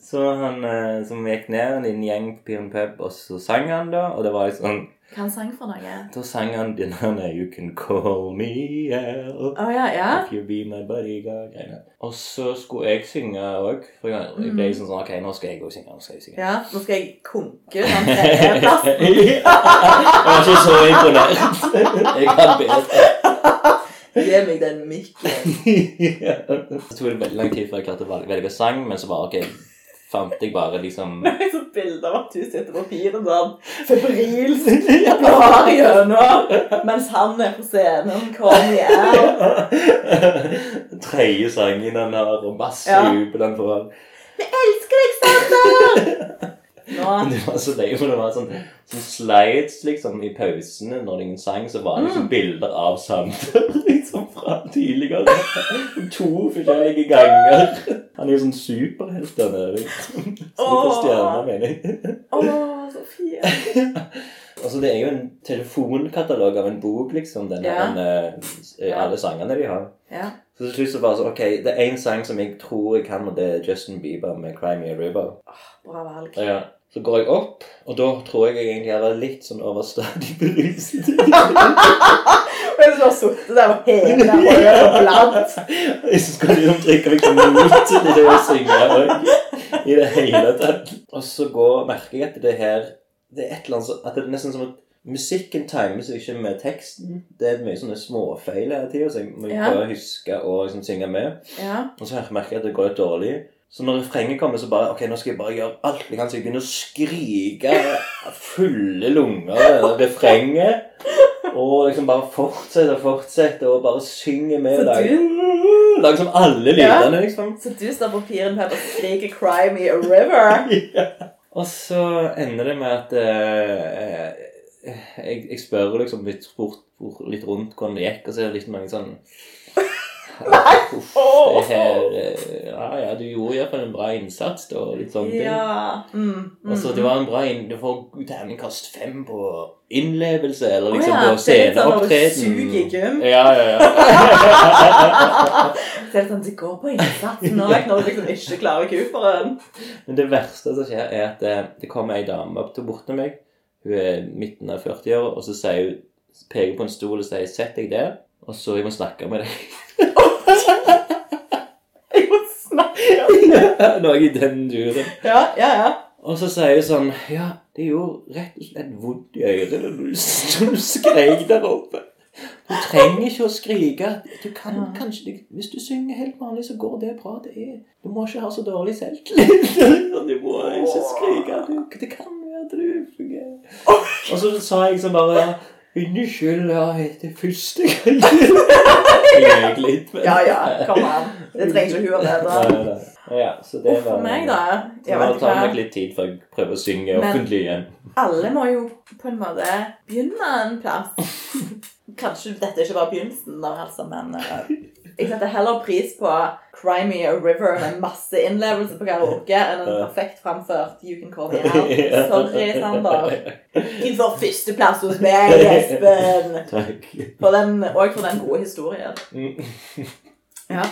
Så han eh, som gikk ned, en liten gjeng på Piren pub, og så sang han, da. Og det var liksom
Hva han sang for noe?
Da sang han den her You can call me out
Å ja, ja.
if you be my bodyguard. greiene. Og så skulle jeg synge òg. For jeg jeg ble liksom sånn OK, nå skal jeg òg synge. nå skal jeg synge.
Ja, Nå skal jeg konke ut han tredjeplassen.
jeg var ikke så imponert. Jeg kan bedre.
Gi meg den mikken.
Ja. Så tok det veldig lang tid før jeg klarte å valge- velge sang, men så bare OK, fant jeg bare liksom
Jeg så bilder av at du sitter på piren sånn febrilsk og blar gjennom mens han er på scenen. Kom igjen.
Tredje sangen han har, og masse
Ja.
jubel han får.
Elsker deg, Sander!
Men
Nå.
det var så løye, for det var sånn, sånn slides liksom i pausene når det ingen sang, så var det
Mm.
liksom bilder av Sander liksom fra tidligere. To forskjellige ganger. Han er jo sånn superhelt der nede. liksom. Superstjerne,
Åh.
mener jeg.
Å, Sofie.
Altså, det er jo en telefonkatalog av en bok, liksom, den
Ja.
der, eh, alle sangene de har.
Ja.
Så til slutt så bare sånn, ok, det er en sang som jeg tror jeg kan, og det er Justin Bieber med Cry Me A River.
Bra valg.
Ja. Eh, Så går jeg opp, og da tror jeg egentlig jeg var litt sånn overstadig beruset.
Hvis du har sittet der og hele øyet og bladd
Jeg skal liksom trykke meg mot i det å synge òg. I det hele tatt. Og så går, merker jeg at det her Det er et eller annet så- At det er nesten som at musikken timer seg ikke med teksten. Det er mye sånne småfeil hele tida, så jeg må
Ja.
prøve å huske å liksom synge med.
Ja.
Og så merker jeg at det går litt dårlig. Så når refrenget kommer, så bare Ok, nå skal jeg bare gjøre alt jeg kan, så jeg begynner å skrike av fulle lunger det der refrenget. Og liksom bare fortsette og fortsette og bare synge med.
Så
Lage, lage som alle
Ja.
lydene, liksom.
Så du står på piren her og skriker 'Cry me a river'?
Ja. Og så ender det med at eh, eh, jeg, jeg spør liksom litt, spurt, spurt litt rundt hvordan det gikk, og så er det litt mange sånn Uff, det her eh, Ja, ja, du gjorde iallfall en bra innsats, da, og litt sånne Sånn ting.
Ja. Mm, mm.
Og så det var en bra inn... Du får terningkast fem på innlevelse,
Å
eller liksom
ja,
på
det er litt sånn når du
sceneopptreden.
suger i gym.
Ja, ja, ja.
Så er det sånn, det går på innsatsen òg når du liksom ikke klarer kuperen.
Men det verste som skjer, er at det, det kommer ei dame opp til bort til meg. Hun er midten av 40-åra, og så sier hun, peker på en stol og sier 'Sett deg der', og så jeg må snakke med deg.
Jeg må snakke.
Noe i den duren.
Ja, ja, ja.
Og så sier hun sånn Ja, det gjorde rett og slett vondt i øret da du, da du skrek der oppe. Du trenger ikke å skrike. Du kan kanskje Hvis du synger helt vanlig, så går det bra. Det er, du må ikke ha så dårlig selvtillit. Du må ikke skrike. Du, det kan være at du fungerer. Og så sa jeg liksom bare Unnskyld, ja, det er første gang Jeg litt, men
Ja, ja, kom an. Det trenger ikke hun å vite.
Nei, nei, nei. Ja, så det
Uff for
var-
meg, da.
det
Jeg
må
vet
ta
ikke
meg
hva.
litt tid før jeg prøver å synge
Men-
offentlig igjen.
Alle må jo på en måte begynne en plass. Kanskje dette ikke var begynnelsen, da, altså, men eh, jeg setter heller pris på Crimea River med masse innlevelse på karaoke enn en perfekt framført You Can Call Me Out. Sorry, Sander. Ikke for førsteplass hos meg, Espen!
Takk.
For den, og for den gode historien.
Mm.
Ja.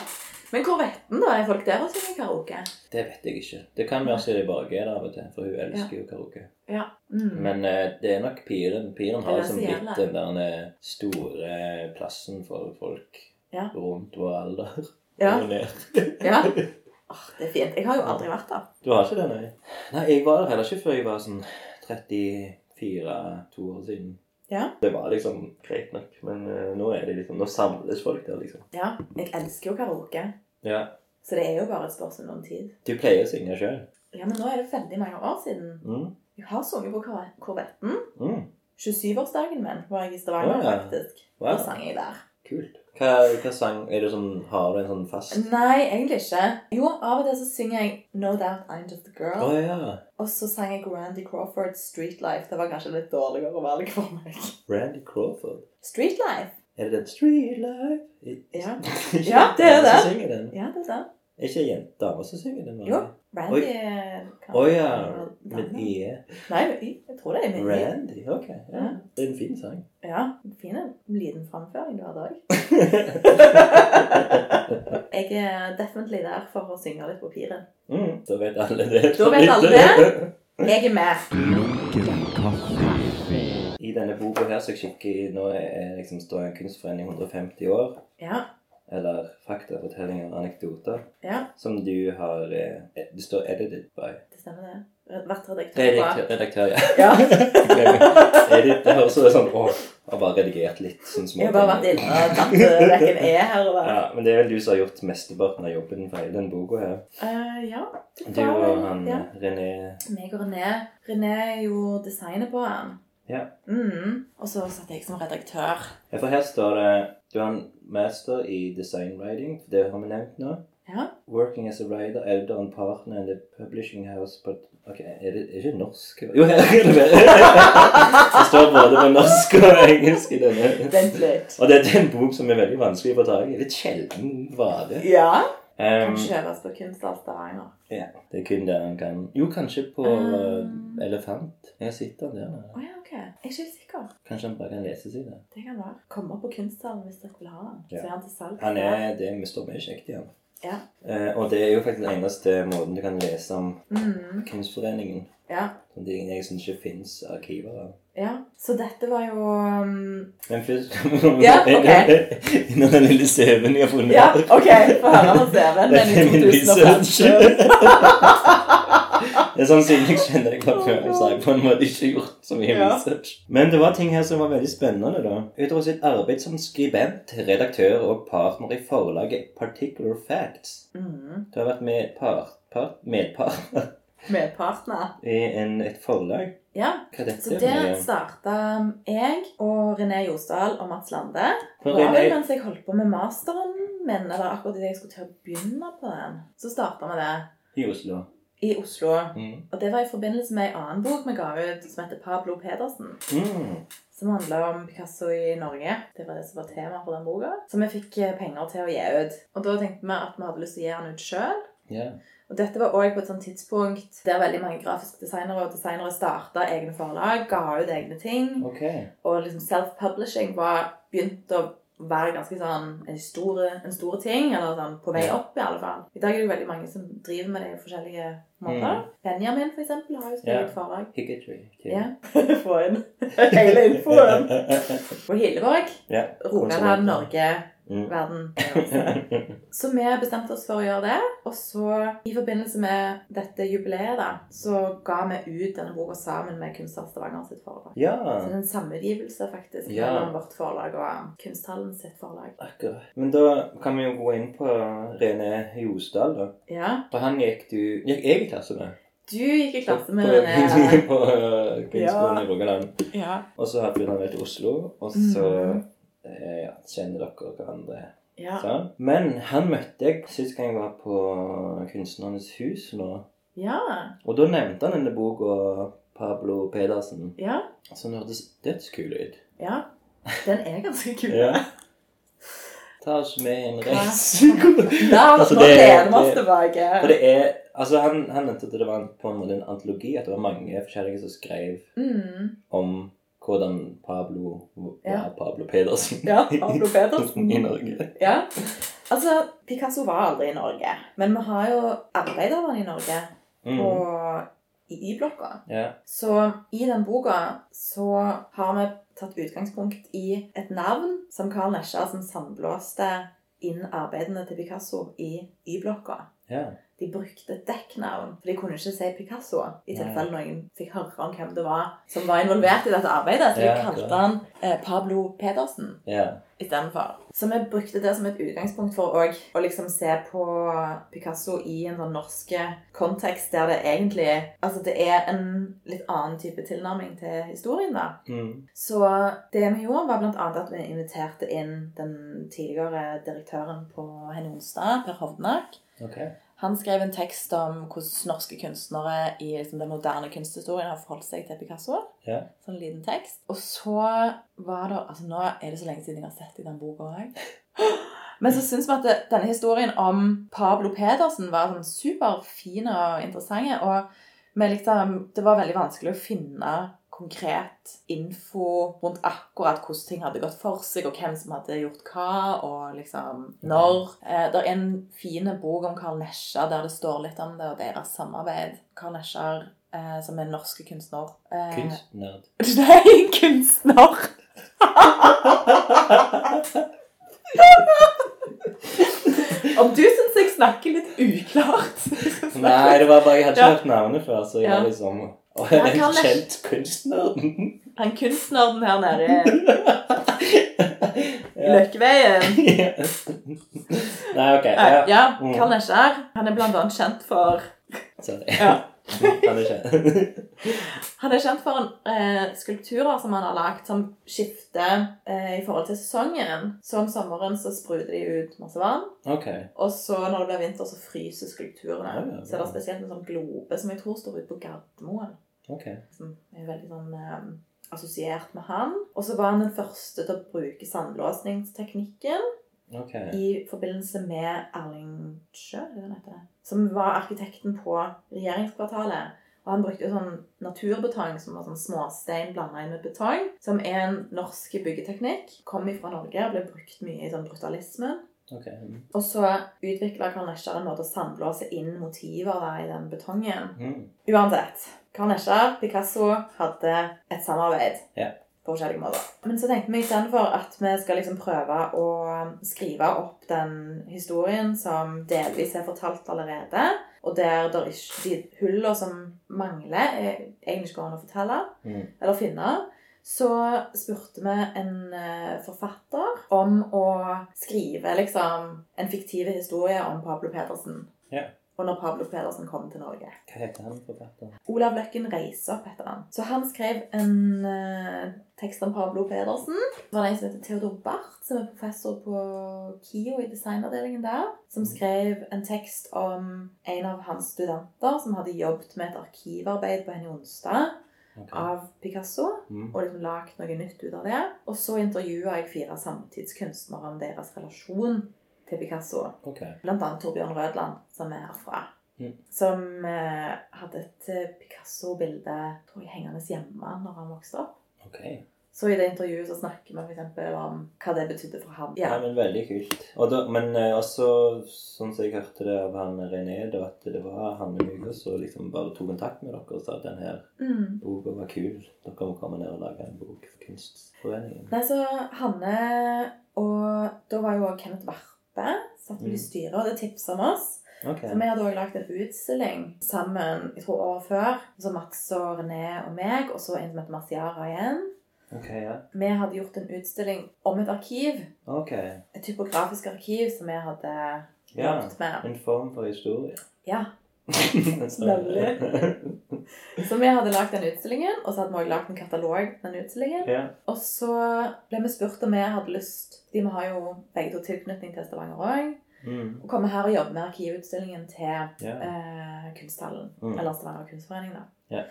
Men Korvetten, da? Er folk der og synger karaoke?
Det vet jeg ikke. Det kan være Siri Barge er der av og til, for hun elsker jo karaoke.
Ja. Mm.
Men eh, det er nok piren. Piren har
Det er
liksom
så
blitt
jævla.
den der eh, store plassen for folk
Ja.
rundt vår alder.
Ja.
Og ned.
ja. Åh, det er fint. Jeg har jo aldri vært der.
Du har ikke det, nei? Nei, jeg var der heller ikke før jeg var sånn 34-2 år siden.
Ja.
Det var liksom greit nok, men eh, nå er det liksom, nå samles folk der, liksom.
ja. Jeg elsker jo karaoke,
Ja.
så det er jo bare et spørsmål om tid.
Du pleier å synge sjøl.
Ja, men nå er det veldig mange år siden.
Mm.
Jeg har sunget på Kor- Korvetten.
Mm.
27-årsdagen min var jeg i Stavanger,
Å, ja.
faktisk. Da
Wow.
sang jeg der.
Kult. Hva, hva sang er det sånn Har du en sånn fast Å
Nei, egentlig ikke. Jo, av og til så synger jeg No Doubt I'm Just a Girl.
ja.
Og så sang jeg Randy Crawford Street Life. Det var kanskje litt dårligere valg for meg.
Randy Crawford.
Street Life?
Er det den Street Life It-
Ja.
Ikke
Ja, det er
dame som
det.
synger den.
Ja, det er det.
Er ikke jente dame som synger den?
Jo. Randy
Å ja. Med
I.
IE.
Nei, med Y. Jeg tror det er med I.
Randy. Ok. Ja.
Ja.
Det er en fin sang.
Ja, fin en liten framføring du hadde òg. Jeg er definitely der for å synge litt på piren.
Mm, da vet alle det.
Da vet alle det. Jeg er med.
Lunken kaffe.
I denne boka her som jeg kikker i nå, er- er liksom står en kunstforening 150 år.
Ja.
Eller fakta, fortellinger og anekdoter.
ja,
Som du har eh, Det står 'edited by'.
Det stemmer, det. Vært redaktør på
Redaktør, redaktør ja.
Ja.
Edit, det høres ut som Åh, jeg har bare redigert litt. Sånn små
Jeg har bare vært
ting.
inne og tatt eh, vekk en E her og bare
Ja, men det er vel du som har gjort mesteparten av jobben for hele den boka her.
Eh, Ja. det
Du
var vel-
og han
ja.
René
meg og René. René er jo designet på han.
Ja.
Mm. Og så satt jeg som redaktør.
Ja, for her står det Du har en master i designwriting, det har vi nevnt nå.
Ja.
Working as a writer, editor and partner in the publishing house but Ok, er det er ikke norsk? Jo, her er det mer! Det står både på norsk og engelsk i denne.
Vent litt.
Og dette er en bok som er veldig vanskelig å få tak i. Litt sjelden vare.
Ja.
Um,
Kan kjøpes på Kunsthall Stavanger.
Ja, det er kun der han kan Jo, kanskje på
Um.
eh, Elefant. Jeg sitter der.
Å
nå.
ja, ok. Jeg er ikke helt sikker.
Kanskje han bare kan lese seg det.
Det kan være. Kom opp på Kunsthallen hvis dere vil ha den. Så
Ja.
er han til salg.
Han er det vi står mye kjekt i han.
Ja.
Eh, og det er jo faktisk den eneste måten du kan lese om
Mm.
Kunstforeningen.
Ja.
Som de jeg syns ikke fins arkiver av.
ja. Så dette var jo um...
Men først
Ja, ok.
Innan den lille CV-en jeg har funnet.
Ja, OK. Få høre på CV-en.
Dette er min
Den i 2005.
research. det er sånn siden jeg kjenner deg fra før. Så jeg på en måte ikke gjort så mye
Ja.
research. Men det var ting her som var veldig spennende, da. Utover sitt arbeid som skribent, redaktør og partner i forlaget Particular Facts.
Mm.
Du har vært medpart, part, medpartner
Med partner.
i en, et forlag.
Ja.
Hva er dette?
Så altså der starta jeg og René Josdal og Mats Lande.
Men
Det var vel
René,
mens jeg holdt på med masteren min, eller akkurat idet jeg skulle til å begynne på den. Så starta vi det
i Oslo.
i Oslo.
Mm.
Og det var i forbindelse med ei annen bok vi ga ut som heter Pablo Pedersen.
Mm.
Som handla om Picasso i Norge. Det var det som var temaet for den boka. Som vi fikk eh, penger til å gi ut. Og da tenkte vi at vi hadde lyst til å gi den ut sjøl.
Ja.
Og dette var også på et sånt tidspunkt der veldig mange grafiske designere og designere starta egne forlag, ga ut egne ting.
Ok.
Og liksom self-publishing var begynt å være ganske sånn en stor, en stor ting, eller sånn på vei opp i alle fall. I dag er det jo veldig mange som driver med det i forskjellige måter. Benjamin for eksempel har jo sitt
Ja.
eget forlag.
Higgitry.
Ja. Få inn hele infoen. Og Hillevåg.
ja.
Rogaland, Norge,
Mm.
verden. Så vi bestemte oss for å gjøre det. Og så i forbindelse med dette jubileet, da, så ga vi ut denne boka sammen med Kunstner Stavanger sitt forlag.
ja.
Så det er en samutgivelse faktisk
Ja.
mellom vårt forlag og Kunsthallen sitt forlag.
Akkurat. Men da kan vi jo gå inn på Rene Josdal, da.
Ja.
For han gikk du Gikk jeg i klasse med?
Du gikk i klasse med
På-
René.
På øh, kunstskolen i
Ja.
Rogaland.
Ja.
Og så har flyttet han vel til Oslo, og så
Mhm.
eh, ja, kjenner dere hverandre.
Ja.
Sånn. Men han møtte jeg sist gang jeg var på Kunstnernes hus nå.
ja.
Og da nevnte han denne boka Pablo Pedersen,
ja.
som hørtes dødskul ut.
ja. Den er ganske kul.
Ja. Ta oss med en
Hva?
reise. hvor-
Da,
Altså,
nå
det-
lener vi oss
det-
tilbake.
For det er Altså, han, han nevnte at det var en, på en måte en antologi, at det var mange forskjellige som skrev
Mm.
om hvordan Pablo var
Ja.
Pablo Pedersen
Ja, Pablo Pedersen.
i Norge.
Ja. Altså, Picasso var aldri i Norge, men vi har jo arbeidet av han i Norge, på,
Mm.
i Y-blokka.
Ja.
Så i den boka så har vi tatt utgangspunkt i et navn som Carl Nesjarsen sandblåste inn arbeidene til Picasso i Y-blokka.
ja.
De brukte et dekknavn, for de kunne ikke si Picasso. I tilfelle noen fikk høre om hvem det var som var involvert i dette arbeidet. Så
Ja,
de kalte han eh, Pablo Pedersen
Ja.
istedenfor. Så vi brukte det som et utgangspunkt for òg å liksom se på Picasso i en sånn norsk kontekst der det egentlig Altså det er en litt annen type tilnærming til historien, da.
Mm.
Så det vi gjorde, var bl.a. at vi inviterte inn den tidligere direktøren på Henny Onsdag, Per Hovnak.
Ok.
Han skrev en tekst om hvordan norske kunstnere i liksom, den moderne kunsthistorien har forholdt seg til Picasso.
Ja.
Sånn liten tekst. Og så var det Altså, nå er det så lenge siden jeg har sett i den boka òg. Men så syns vi at det, denne historien om Pablo Pedersen var sånn superfin og interessant. Og vi liksom, det var veldig vanskelig å finne konkret info rundt akkurat hvordan ting hadde gått for seg, og hvem som hadde gjort hva, og liksom når. Eh, det er en fin bok om Karl Nesja der det står litt om det og deres samarbeid. Karl Nesjar, eh, som er norsk kunstner. Eh,
Kunstnerd.
Nei, kunstner. Om du syns jeg snakker litt uklart
Nei, det var bare jeg hadde ikke
Ja.
hørt navnet før, så jeg
Ja.
var liksom Å,
Ja,
den
Karl Nes-
kjent kunstnerden.
Han kunstneren her nede i Løkkeveien.
Nei, ok.
Eh,
Ja.
Ja,
Mm.
Karl Nesjar. Han er blant annet kjent for
Sorry.
Ja.
Han er kjent.
Han er kjent for eh, skulpturer som han har lagd, som skifter eh, i forhold til sesongen. Så om sommeren så spruter de ut masse vann,
Ok.
og så når det blir vinter, så fryser skulpturene.
Ja, ja, ja.
Så er det spesielt en sånn globe som jeg tror står ute på Gardermoen.
ok.
Som er veldig sånn eh, assosiert med han. Og så var han den første til å bruke sandlåsningsteknikken
ok.
i forbindelse med Erling Sjø, er det han heter? som var arkitekten på regjeringskvartalet. Og han brukte jo sånn naturbetong, som var sånn småstein blanda inn med betong, som er en norsk byggeteknikk. Kom ifra Norge og ble brukt mye i sånn brutalismen.
ok.
Og så utvikla Karl Nesjar en måte å sandblåse inn motiver da, i den betongen.
Mm.
Uansett. Karl Nesjar, Picasso hadde et samarbeid.
Ja.
På forskjellige måter. Men så tenkte vi istedenfor at vi skal liksom prøve å skrive opp den historien som delvis er fortalt allerede, og der der ikke, de hullene som mangler, er egentlig ikke går an å fortelle
Mm.
eller finne, så spurte vi en eh, forfatter om å skrive liksom en fiktiv historie om Pablo Pedersen.
Ja.
Og når Pablo Pedersen kom til Norge.
Hva heter han forfatteren?
Olav Løkken reiser opp heter han. Så han skrev en eh, tekst om Pablo Pedersen. Det var det en som heter Theodor Barth, som er professor på KIO i designavdelingen der, som skrev en tekst om en av hans studenter som hadde jobbet med et arkivarbeid på Henny Onsdag
Ok.
av Picasso,
Mm.
og liksom lagd noe nytt ut av det. Og så intervjua jeg fire samtidskunstnere om deres relasjon til Picasso.
Ok.
Blant annet Torbjørn Rødland, som er herfra.
Mm.
Som eh, hadde et eh, Picasso-bilde tror jeg, hengende hjemme når han vokste opp.
ok.
Så i det intervjuet så snakker vi for eksempel om hva det betydde for ham. Ja.
Nei, men veldig kult. Og da, men eh, også, sånn som jeg hørte det av han René, da at det var Hanne Mugås som liksom bare tok kontakt med dere og sa at den her
Mm.
boka var kul. Dere må komme ned og lage en bok for Kunstforeningen.
Nei, så Hanne og Da var jo også Kenneth Varpe satt
Mm.
vel i styret og hadde tipsa om oss.
Ok.
Så vi hadde også lagd en utstilling sammen jeg tror året før. Så Mats og René og meg, og så en som heter Marciara igjen.
Ok, ja.
Vi hadde gjort en utstilling om et arkiv.
Ok.
et typografisk arkiv som jeg hadde
Ja.
jobbet med.
En form for historie.
Ja,
Snarlig.
Så vi hadde lagd den utstillingen, og så hadde vi også lagd en katalog til den utstillingen.
ja.
Og så ble vi spurt om vi hadde lyst fordi vi har jo begge to tilknytning til Stavanger òg.
Mm.
Å komme her og jobbe med arkivutstillingen til
Ja.
eh, kunsthallen.
Mm.
Eller Stavanger kunstforening, da.
Ja.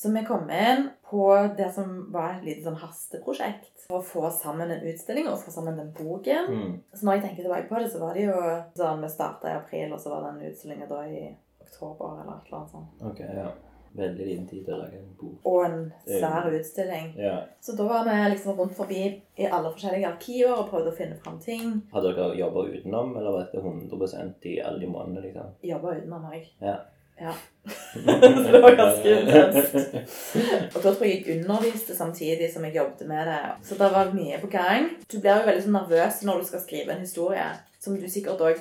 Så vi kom inn på det som var et lite sånn hasteprosjekt for å få sammen en utstilling og få sammen den boken.
Mm.
Så når jeg tenker tilbake på det, så var det jo sånn vi starta i april, og så var den utstillingen da i oktober eller et eller annet sånt.
Ok, ja. Veldig liten tid til å lage en bok.
Og en svær utstilling.
Ja.
Så da var vi liksom rundt forbi i alle forskjellige arkiver og prøvde å finne fram ting.
Har dere jobba utenom, eller var dette 100 i alle de månedene? liksom?
Jobba utenom òg.
Ja.
ja. Så det var ganske intenst. Og da tror jeg jeg underviste samtidig som jeg jobbet med det. Så det var mye på gang. Du blir jo veldig sånn nervøs når du skal skrive en historie. Som du sikkert òg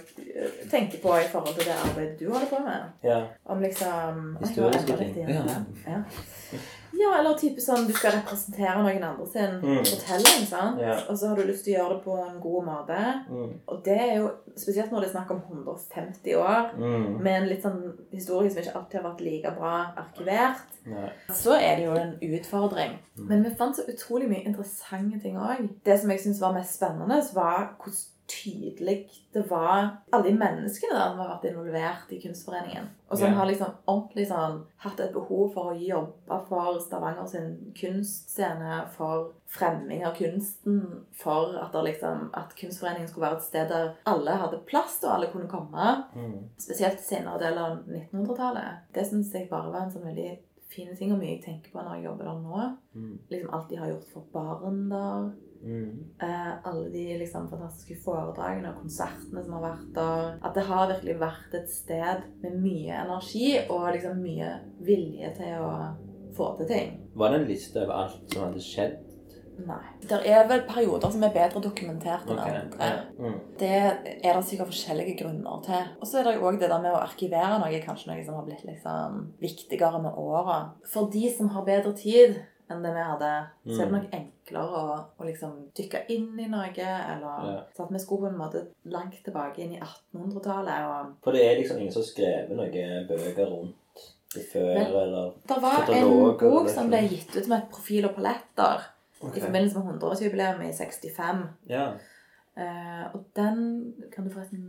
tenker på i forhold til det arbeidet du holder på med.
ja.
Om liksom Nei, jeg må
Historiske
endre litt
ting.
igjen. Ja. ja, eller type sånn du skal representere noen andre sin
Mm.
fortelling. sant?
Ja.
Og så har du lyst til å gjøre det på en god måte.
Mm.
Og det er jo spesielt når det er snakk om 150 år
Mm.
med en litt sånn historie som ikke alltid har vært like bra arkivert,
Nei. Mm,
så er det jo en utfordring. Men vi fant så utrolig mye interessante ting òg. Det som jeg syns var mest spennende, var hvor tydelig det var alle de menneskene da, som har vært involvert i Kunstforeningen. Og som
Ja.
har liksom ordentlig sånn hatt et behov for å jobbe for Stavanger sin kunstscene, for fremming av kunsten, for at, det liksom, at Kunstforeningen skulle være et sted der alle hadde plass, og alle kunne komme.
Mm.
Spesielt senere del av 1900-tallet. Det syns jeg bare var en sånn veldig fin ting, og mye jeg tenker på når jeg jobber der nå.
Mm.
Liksom alt de har gjort for barn der.
Mm.
Eh, alle de liksom fantastiske foredragene og konsertene som har vært der. At det har virkelig vært et sted med mye energi og liksom mye vilje til å få til ting.
Var det en liste over alt som hadde skjedd?
Nei. Det er vel perioder som er bedre Eh, dokumentert
Ok,
enn andre.
Ja. Mm.
Det er det sikkert forskjellige grunner til. Og så er det jo òg det der med å arkivere noe, kanskje noe som har blitt liksom viktigere med åra. For de som har bedre tid enn det vi hadde, så er det
Mm.
nok enklere å, å liksom dykke inn i noe, eller
Ja.
Så at vi skulle på en måte langt tilbake inn i 1800-tallet, og
For det er liksom ingen som har skrevet noen bøker rundt det før,
Men-
eller
Det var en
Kataloger,
bok
det er
som ble
sånn.
gitt ut med profil og paletter i forbindelse med 100-årsjubileet i 65.
Ja.
Eh, og den kan du forresten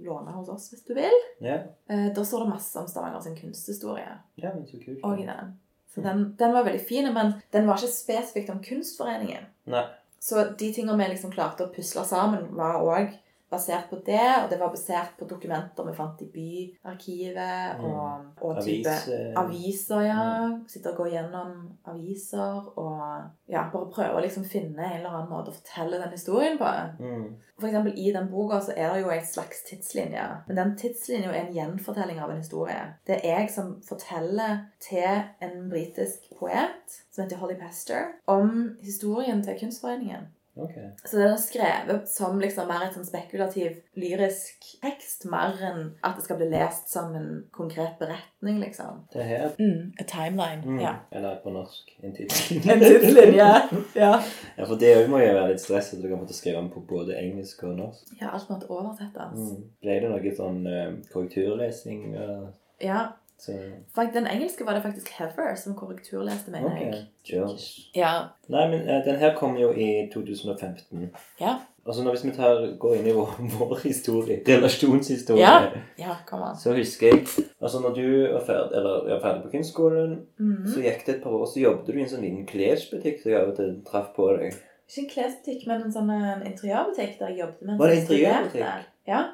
låne hos oss hvis du vil.
Ja.
Eh, Da står det masse om Stavanger sin kunsthistorie.
ja, men så kult.
Og i den. Så den, den var veldig fin, men den var ikke spesifikt om Kunstforeningen.
Nei.
Så de tingene vi liksom klarte å pusle sammen, var òg basert på det. Og det var basert på dokumenter vi fant i Byarkivet, og, og type
Avis. eh,
aviser, ja. Sitte og gå gjennom aviser og ja, bare prøve å liksom finne en eller annen måte å fortelle den historien på.
Mm.
For eksempel, I den boka så er det jo en slags tidslinje. Men den tidslinja er en gjenfortelling av en historie. Det er jeg som forteller til en britisk poet som heter Holly Pester, om historien til Kunstforeningen.
Ok.
Så den er skrevet som liksom mer et sånn spekulativ, lyrisk tekst, mer enn at det skal bli lest som en konkret beretning, liksom.
Det her
Mm, a timeline,
mm.
ja.
Eller på norsk en
En
tidslinje.
tidslinje, ja.
ja, for det òg må jo være litt stress at du kan måtte skrive den på både engelsk og norsk.
Ja, alt måtte oversettes.
Mm. Ble det noe sånn eh, korrekturlesing? eh,
Ja,
så,
for den engelske var det faktisk Heather som korrekturleste, mener
ok.
jeg.
Cheers.
Ja,
Nei, men eh, den her kom jo i 2015.
Ja.
Altså når, Hvis vi tar, går inn i vår, vår historie, relasjonshistorie,
Ja. Ja, kom an.
så husker jeg altså når du var ferdig, eller, ja, ferdig på kunstskolen,
Mhm.
så gikk det et par år, så jobbet du i en sånn liten klesbutikk som jeg av og til traff på deg.
Ikke en klesbutikk, men en sånn eh, en interiørbutikk der jeg jobbet. mens
Var det
jeg studerte.
interiørbutikk?
Ja.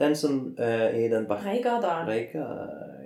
Den som eh, i den bakken
Breigata.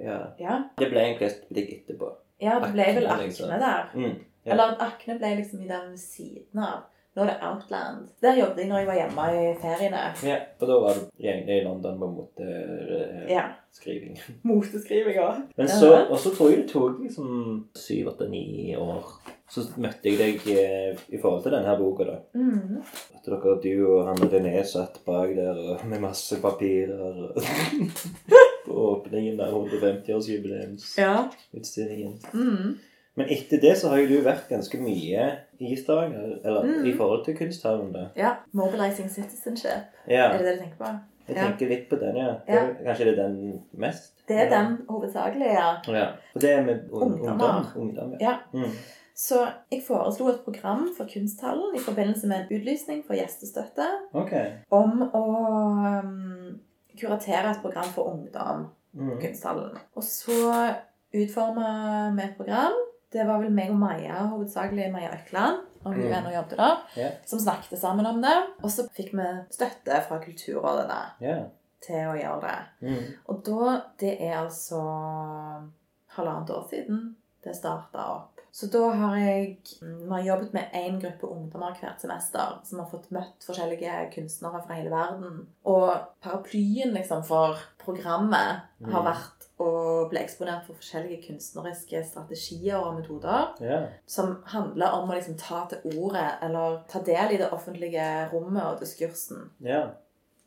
ja.
Ja.
Det ble en klesbutikk etterpå.
ja, det ble vel
Akne, liksom.
Akne der.
Mm. Ja.
Eller Akne ble liksom i den ved siden av. Nå er det Outland. Der jobbet jeg når jeg var hjemme i feriene.
Ja, og da var du egentlig i London på en måte eh,
Ja.
skriving.
Moteskrivinga.
Men
Ja.
så, og så tror jeg det tok liksom syv, åtte, ni år. Så møtte jeg deg eh, i forhold til denne boka, da.
Mm.
At dere, du og han og René satt bak der og med masse papirer og På åpningen av 150-årsjubileumsutstillingen.
Ja. Mm.
Men etter det så har jo du vært ganske mye i Stavanger. Eller
Mm.
i forhold til kunsthavn, da.
ja. Mobilizing citizenship.
Ja.
Er det det du tenker på?
Jeg
Ja.
tenker litt på den, ja. Det,
Ja.
er- Kanskje det er den mest?
Det er den hovedsakelige. Ja.
Ja. Og det er med un
Ungdommer.
ungdom. ungdom ja.
Ja.
Mm.
Så jeg foreslo et program for kunsthallen i forbindelse med en utlysning for gjestestøtte.
Ok.
om å um, kuratere et program for ungdom på
Mm.
kunsthallen. Og så utforma vi et program. det var vel meg og Maja, hovedsakelig Maja Økland, om hun
Mm.
ennå jobbet der,
Ja.
som snakket sammen om det. Og så fikk vi støtte fra Kulturrådet da,
Ja.
til å gjøre det.
Mm.
Og da, det er altså halvannet år siden det starta opp. Så da har jeg Vi har jobbet med én gruppe ungdommer hvert semester som har fått møtt forskjellige kunstnere fra hele verden. Og paraplyen liksom for programmet
Mm.
har vært å bli eksponert for forskjellige kunstneriske strategier og metoder
Ja.
som handler om å liksom ta til ordet eller ta del i det offentlige rommet og diskursen.
Ja.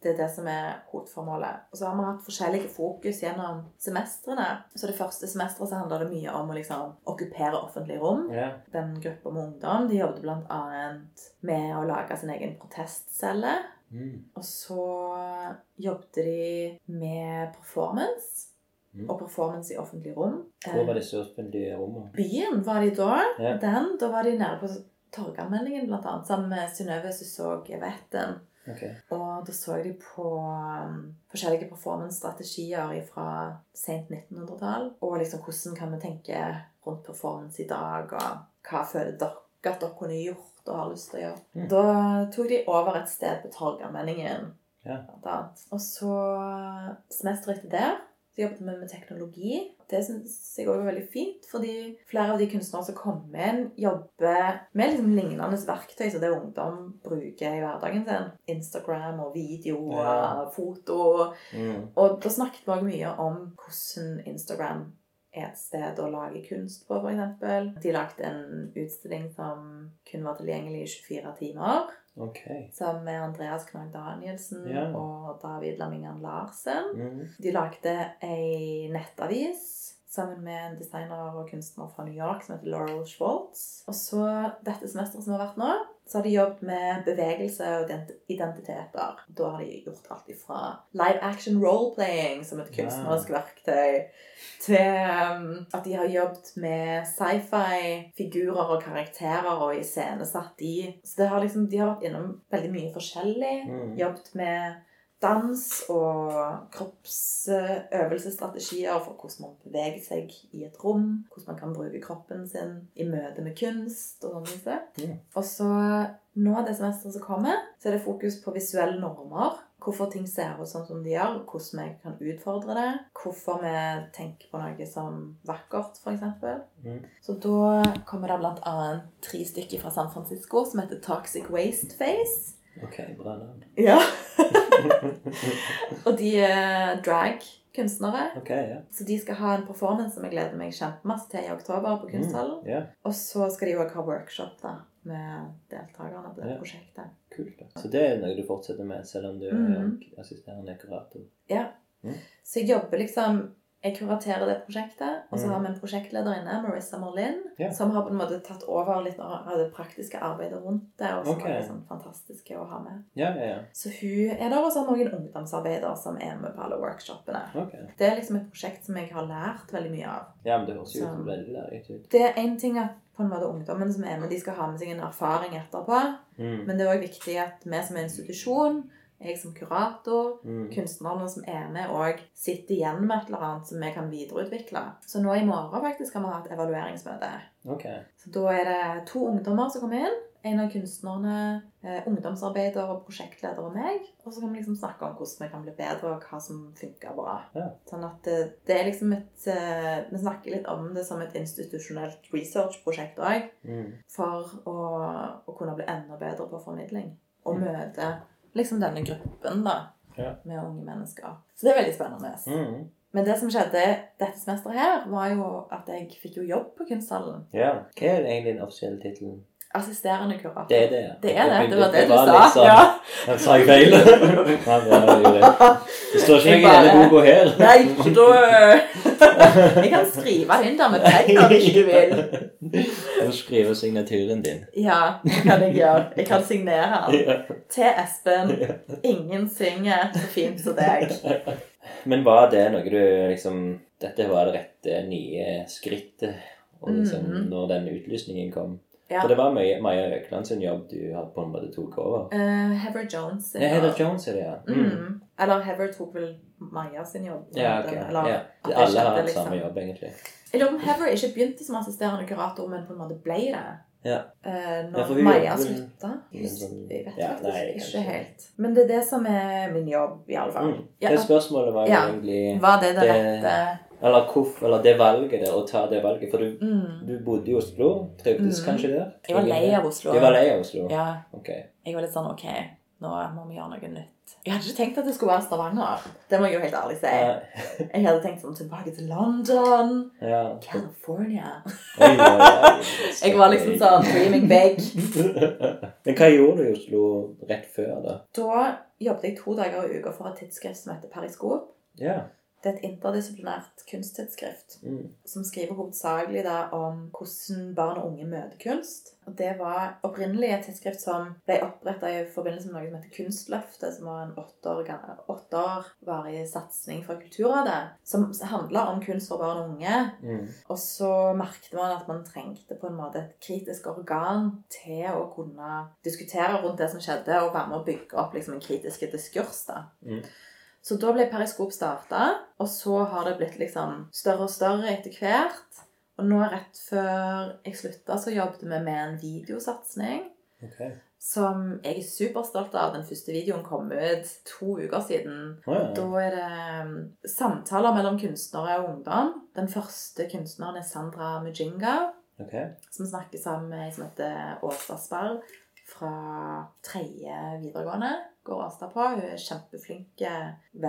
Det er det som er hovedformålet. Og så har vi hatt forskjellige fokus gjennom semestrene. Så det første semesteret så handler det mye om å liksom okkupere offentlige rom.
Ja.
Den gruppa med ungdom de jobbet bl.a. med å lage sin egen protestcelle.
Mm.
Og så jobbet de med performance.
Mm.
Og performance i offentlige rom. Eh,
Hvor var disse offentlige rommene?
Byen var de da.
Ja.
Den, da var de nede på Torganmeldingen bl.a. sammen med Synnøve Susåg Vetten.
Ok.
Og da så de på um, forskjellige performance-strategier fra sent 1900-tall. Og liksom hvordan kan vi tenke rundt performance i dag, og hva føler dere at dere kunne gjort og har lyst til å gjøre.
Mm.
Da tok de over et sted på Torgallmenningen,
Ja.
blant annet. Og så semesteret etter der så jobbet vi med teknologi. Det syns jeg også var veldig fint, fordi flere av de kunstnere som kom inn, jobber med liksom lignende verktøy som det ungdom bruker i hverdagen sin. Instagram og video og
Ja.
foto.
Mm.
Og da snakket vi også mye om hvordan Instagram er et sted å lage kunst på, f.eks. De lagde en utstilling som kun var tilgjengelig i 24 timer.
Ok.
Sammen med Andreas Knag Danielsen
Ja.
og David Lammingan Larsen.
Mm.
De lagde ei nettavis sammen med en designer og kunstner fra New York som heter Laurel Schwartz. Og så dette semesteret som har vært nå, så har de jobbet med bevegelse og ident- identiteter. Da har de gjort alt ifra live action role-playing som et kunstnerisk verktøy, til um, at de har jobbet med sci-fi-figurer og karakterer og iscenesatt de. Så det har liksom, de har vært innom veldig mye forskjellig.
Mm.
Jobbet med dans og kroppsøvelsesstrategier for hvordan man beveger seg i et rom. Hvordan man kan bruke kroppen sin i møte med kunst og sånne ting.
Mm.
Og så nå det semesteret som kommer, så er det fokus på visuelle normer. Hvorfor ting ser ut sånn som de gjør, hvordan vi kan utfordre det. Hvorfor vi tenker på noe som vakkert, f.eks.
Mm.
Så da kommer det blant annet tre stykker fra San Francisco som heter Toxic Waste Face.
Ok, bra navn.
Ja. og de er drag-kunstnere.
Ok, ja.
Så de skal ha en performance som jeg gleder meg kjempemasse til i oktober på Kunsthallen.
Mm. Ja,
Og så skal de òg ha workshop da, med deltakerne på det
Ja.
prosjektet.
kult. da. Så det er noe du fortsetter med, selv om du
Mhm.
er assisterende kurator. Mm.
Så jeg jobber liksom Jeg kuraterer det prosjektet, og så
Mm.
har vi en prosjektleder inne, Marissa Morlin,
Ja.
som har på en måte tatt over litt av det praktiske arbeidet rundt det, og som
Ok.
er liksom fantastiske å ha med.
Ja, ja, ja.
Så hun er der, og så har vi noen ungdomsarbeidere som er med på alle workshopene.
Ok.
Det er liksom et prosjekt som jeg har lært veldig mye av.
Ja, men det høres jo ut
Så-
som veldig lærerikt ut.
Det er én ting at på en måte ungdommen som er med, de skal ha med seg en erfaring etterpå.
Mm.
Men det er òg viktig at vi som er institusjon, jeg som kurator,
Mm.
kunstnerne som er med, òg sitter igjen med et eller annet som vi kan videreutvikle. Så nå i morgen faktisk skal vi ha et evalueringsmøte.
Ok.
Så da er det to ungdommer som kommer inn. En av kunstnerne, eh, ungdomsarbeider og prosjektleder og meg. Og så kan vi liksom snakke om hvordan vi kan bli bedre, og hva som funker bra.
Ja.
Sånn at det, det er liksom et eh, Vi snakker litt om det som et institusjonelt researchprosjekt òg.
Mm.
For å, å kunne bli enda bedre på formidling. Og møte liksom denne gruppen, da.
Mm. Ja.
Med unge mennesker. Så det er veldig spennende.
Mm.
Men det som skjedde dette semesteret her, var jo at jeg fikk jo jobb på kunsthallen.
Ja. Hva er egentlig den offisielle tittelen?
Assisterende kurator.
Det er det, ja.
Det er det. Det var det du
var
sa.
litt sånn-
Ja.
Ja, Sa jeg feil? Ja, det var jo det. Det står ikke
Jeg
noe i denne
bare-
boka her.
Nei, ikke da Jeg kan skrive det inn der med penger hvis du vil.
Du skriver signaturen din.
Ja, det kan jeg gjøre. Jeg kan signere den.
Ja.
Til Espen. Ingen synger så fint som deg.
Men var det noe du liksom Dette var det rette nye skrittet og liksom,
Mhm.
når den utlysningen kom?
Ja.
For det var Maja Maja Økland sin jobb du hadde på en måte tok over?
Eh, Heather Jones.
Det er Heather Jones, er det, ja. Mm.
Mm. Eller Heather tok vel Maja sin jobb.
Ja, ok.
Eller,
Ja.
at det
Alle har
skjedde,
hatt
liksom.
samme jobb, egentlig.
Jeg lurer på om Heather ikke begynte som assisterende kurator, men på en måte ble det.
Ja.
Eh,
Ja, for
når
vi
Maja
jobber-
slutta.
Men sånn-
Jeg vet
ja,
faktisk
nei,
ikke
kanskje.
helt. Men det er det som er min jobb, i alle fall.
Mm.
Ja,
Det spørsmålet var jo
Ja.
egentlig
var det det
det-
rette
Eller hvorfor Eller det valget der, å ta det valget. For du,
mm.
du bodde i Oslo. Trivdes
Mm.
kanskje der?
Jeg var lei av Oslo.
Du var lei av Oslo?
Ja,
Ok.
jeg var litt sånn OK, nå må vi gjøre noe nytt. Jeg hadde ikke tenkt at det skulle være Stavanger. Det må jeg jo helt ærlig si.
Ja.
Jeg hadde tenkt sånn tilbake til London,
ja.
California.
Oi, oi, oi.
Jeg var liksom sånn dreaming big.
Men hva gjorde du i Oslo rett før, da?
Da jobbet jeg to dager i uka for et tidsskrift som heter Periskop.
Ja.
Det er et interdisiplinært kunsttidsskrift
Mm.
som skriver hovedsakelig da om hvordan barn og unge møter kunst. Og Det var opprinnelig et tidsskrift som ble oppretta i forbindelse med noe som heter Kunstløftet, som var en åtte år, gammel- åtte år varig satsing fra Kulturrådet, som handla om kunst for barn og unge.
Mm.
Og så merket man at man trengte på en måte et kritisk organ til å kunne diskutere rundt det som skjedde, og være med å bygge opp liksom en kritisk diskurs. da.
Mm.
Så da ble Periskop starta, og så har det blitt liksom større og større etter hvert. Og nå rett før jeg slutta, så jobbet vi med en videosatsing
Ok.
som jeg er superstolt av. Den første videoen kom ut to uker siden.
Å, ja.
Da er det um, samtaler mellom kunstnere og ungdom. Den første kunstneren er Sandra Mujinga,
Ok.
som snakker sammen med ei som heter Åsta Sparr fra tredje videregående. Går Åsta på. Hun er kjempeflink,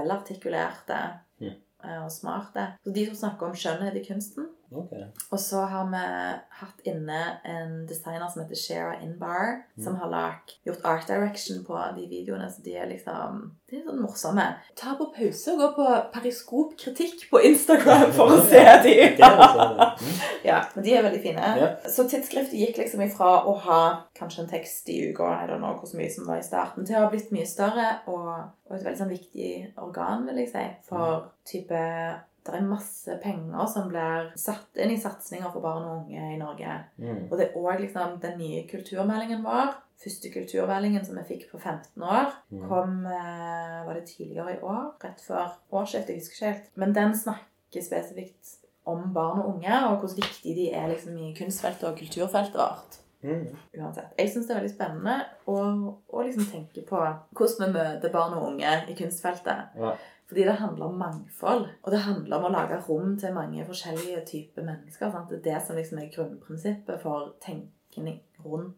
velartikulert
Mm.
eh, og smart. Så de to snakker om skjønnhet i kunsten.
Ok.
Og så har vi hatt inne en designer som heter Shera Inbar,
Mm.
som har lagt, gjort art direction på de videoene. Så de er liksom De er sånn morsomme. Ta på pause og gå på periskopkritikk på Instagram for å se de.
Det er altså- Mm.
Ja, men de er veldig fine.
Ja.
Så tidsskriftet gikk liksom ifra å ha kanskje en tekst i uka, I don't know hvor mye som var i starten, til å ha blitt mye større og, og et veldig sånn viktig organ, vil jeg si, for type det er masse penger som blir satt inn i satsinger for barn og unge i Norge.
Mm.
Og det er òg liksom den nye kulturmeldingen vår. Første kulturmeldingen som jeg fikk på 15 år,
Mm.
kom eh, var det tidligere i år, rett før årsskiftet. Jeg husker ikke helt. Men den snakker spesifikt om barn og unge, og hvor viktig de er liksom, i kunstfeltet og kulturfeltet vårt.
Mm.
Uansett. Jeg syns det er veldig spennende å, å liksom tenke på hvordan vi møter barn og unge i kunstfeltet.
Ja.
Fordi det handler om mangfold, og det handler om å lage rom til mange forskjellige typer mennesker. Sant? Det er det som liksom er grunnprinsippet for tenkning rundt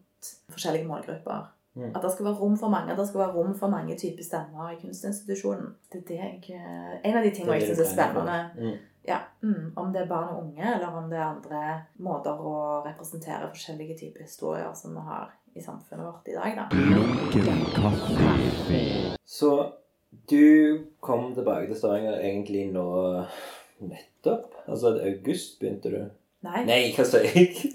forskjellige målgrupper.
Mm.
At det skal være rom for mange, at det skal være rom for mange typer stemmer i kunstinstitusjonen. Det er det jeg, eh, en av de tingene jeg syns er spennende.
Mm.
Ja, mm, Om det er barn og unge, eller om det er andre måter å representere forskjellige typer historier som vi har i samfunnet vårt i dag, da.
Lunken kaffe.
Så du kom tilbake til Stavanger egentlig nå nettopp? Altså i august begynte du?
Nei.
Nei, hva sa jeg?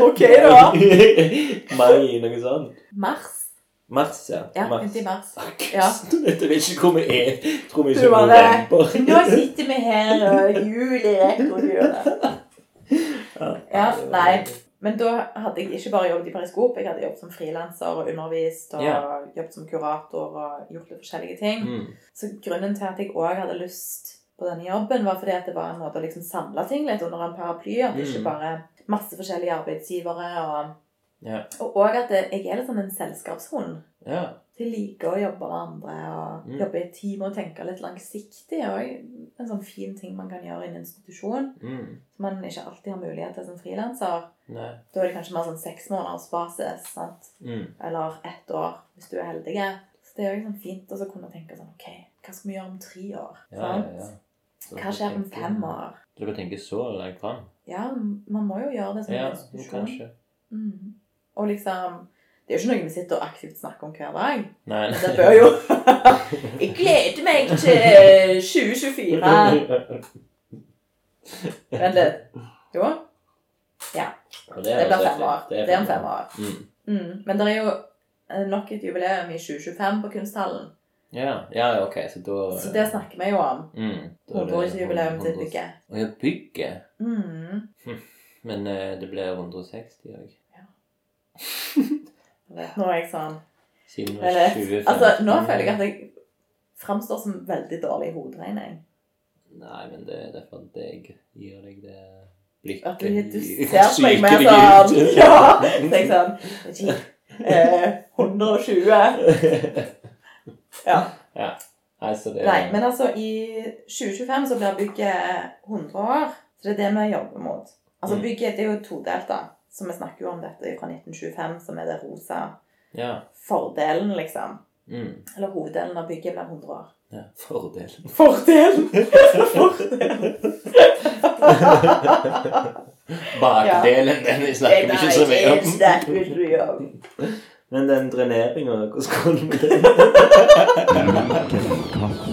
ok, da.
Mai, noe sånt?
Mars.
Mars, ja.
Ja,
Mars.
begynte i mars. Ja.
August. Dette vet ikke hvor vi er. Tror vi
Du
ikke
bare,
er november.
Nå sitter vi her, og jul er rett rundt hjørnet. Ja, nei. Men da hadde jeg ikke bare jobbet i Periskop, jeg hadde jobbet som frilanser og undervist og
Ja.
jobbet som kurator og gjort litt forskjellige ting.
Mm.
Så grunnen til at jeg òg hadde lyst på denne jobben, var fordi at det var en måte å liksom samle ting litt under en paraply. At det
Mm.
ikke bare masse forskjellige arbeidsgivere. Og
Ja.
og òg at det- jeg er litt sånn en selskapshund.
ja.
De liker å jobbe med andre og
Mm.
jobbe i et team og tenke litt langsiktig. er også en sånn fin ting man kan gjøre i en institusjon
Mm.
som man ikke alltid har mulighet til som frilanser.
Nei.
Da er det kanskje mer sånn seks måneders basis, sant?
Mm.
eller ett år hvis du er heldig. Så det er jo liksom fint å så kunne tenke sånn OK, hva skal vi gjøre om tre år?
Ja, ja,
sant?
ja. Så
Hva
du
skjer om
tenker-
fem år?
Du kan tenke så langt fram?
Ja, man må jo gjøre det som
Ja,
institusjon.
kanskje.
Mm. Og liksom Det er jo ikke noe vi sitter og aktivt snakker om hver dag.
Nei, nei.
Det bør jo Jeg gleder meg til eh, 2024. Vent litt. Jo. Det blir fem år. Det er om fem år.
Mm.
Mm. Men det er jo eh, nok et jubileum i 2025 på Kunsthallen.
Ja, ja, ok, så da
Så det snakker vi jo om.
mm, da er det
100-årsjubileum til
100
bygget.
Å ja, bygget?
Mm.
Men eh, det ble 160 òg.
Nå er jeg sånn Altså,
Siden det var
Eller,
2015.
Altså, nå føler jeg at jeg framstår som veldig dårlig i hoderegning.
Nei, men det, det er for at jeg gir deg det blikket
At du, du
i-
ser på meg mer
syke
sånn
blikket.
Ja! Tenk sånn «Gee, eh, 120 Ja.
ja. Nei, så det
Nei, men altså, i 2025 så blir bygget 100 år. Så det er det vi jobber mot. Altså,
Mm.
bygget det er jo todelt, da. Så vi snakker jo om dette fra 1925, som er det rosa
Ja.
fordelen, liksom.
Mm.
Eller hoveddelen av bygget blir 100 år.
ja. Fordelen.
Fordelen! Fordelen.
Bakdelen, den vi snakker vi ikke så mye
Nei, det
om.
snakker vi ikke mye om.
Men den dreneringa, hvordan kom den?
Lunken kaffe.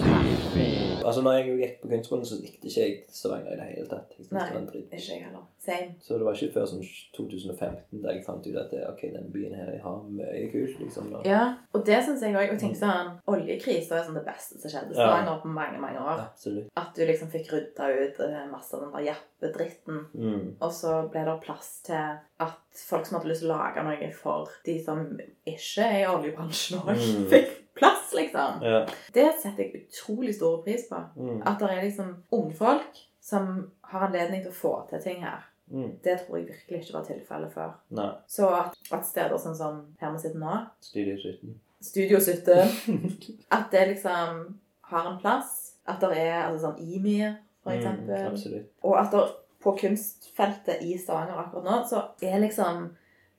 Altså, når jeg jo gikk på kunstskolen, så likte ikke jeg Stavanger i det hele tatt. Jeg syntes
Nei.
det var en dritt.
Ikke jeg heller. Same.
Så det var ikke før sånn 2015 da jeg fant ut at det, ok, den byen her jeg har mye kult, liksom. Da.
Ja, og det syns jeg òg. Og tenk sånn, oljekrisa er sånn det beste som skjedde i Stavanger på mange, mange år.
Absolutt.
At du liksom fikk rydda ut eh, masse av den der jappedritten.
Mm.
Og så ble det plass til at folk som hadde lyst til å lage noe for de som ikke er i oljebransjen òg,
Mm.
fikk plass, liksom.
Ja.
Det setter jeg utrolig stor pris på.
Mm.
At det er liksom unge folk som har anledning til å få til ting her.
Mm.
Det tror jeg virkelig ikke var tilfellet før.
Nei,
Så at, at steder sånn som her vi sitter nå,
studiet 17.
Studio 17, at det liksom har en plass. At det er altså sånn Imir, for
Mm,
eksempel.
absolutt.
og at det på kunstfeltet i Stavanger akkurat nå, så er liksom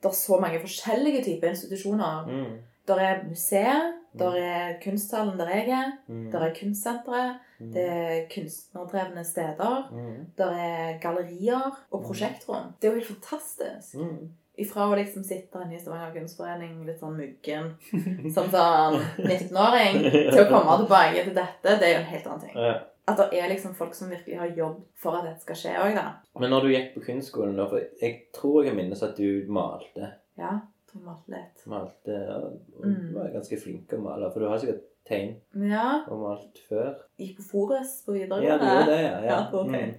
Det er så mange forskjellige typer institusjoner.
Mm.
Der er museet, der er kunsthallen der jeg er,
Mm.
der er kunstsenteret, det er kunstnerdrevne steder,
Mm.
der er gallerier og prosjektrom. Det er jo helt fantastisk.
Mm.
Ifra å liksom sitte inne i Stavanger kunstforening litt sånn muggen som sånn 19-åring, til å komme tilbake til dette, det er jo en helt annen ting.
Ja.
At det er liksom folk som virkelig har jobb for at dette skal skje òg, da.
Men når du gikk på kunstskolen, da, for jeg tror jeg minnes at du malte.
Ja, tror jeg malte litt.
Malte, ja, og
Mm.
var ganske flink til å male, for du har sikkert tegn
Men ja,
og malt før.
gikk på Forus på
Ja, du
videregående.
gjorde det, ja. ja.
Ja, da
Mm.
tenkte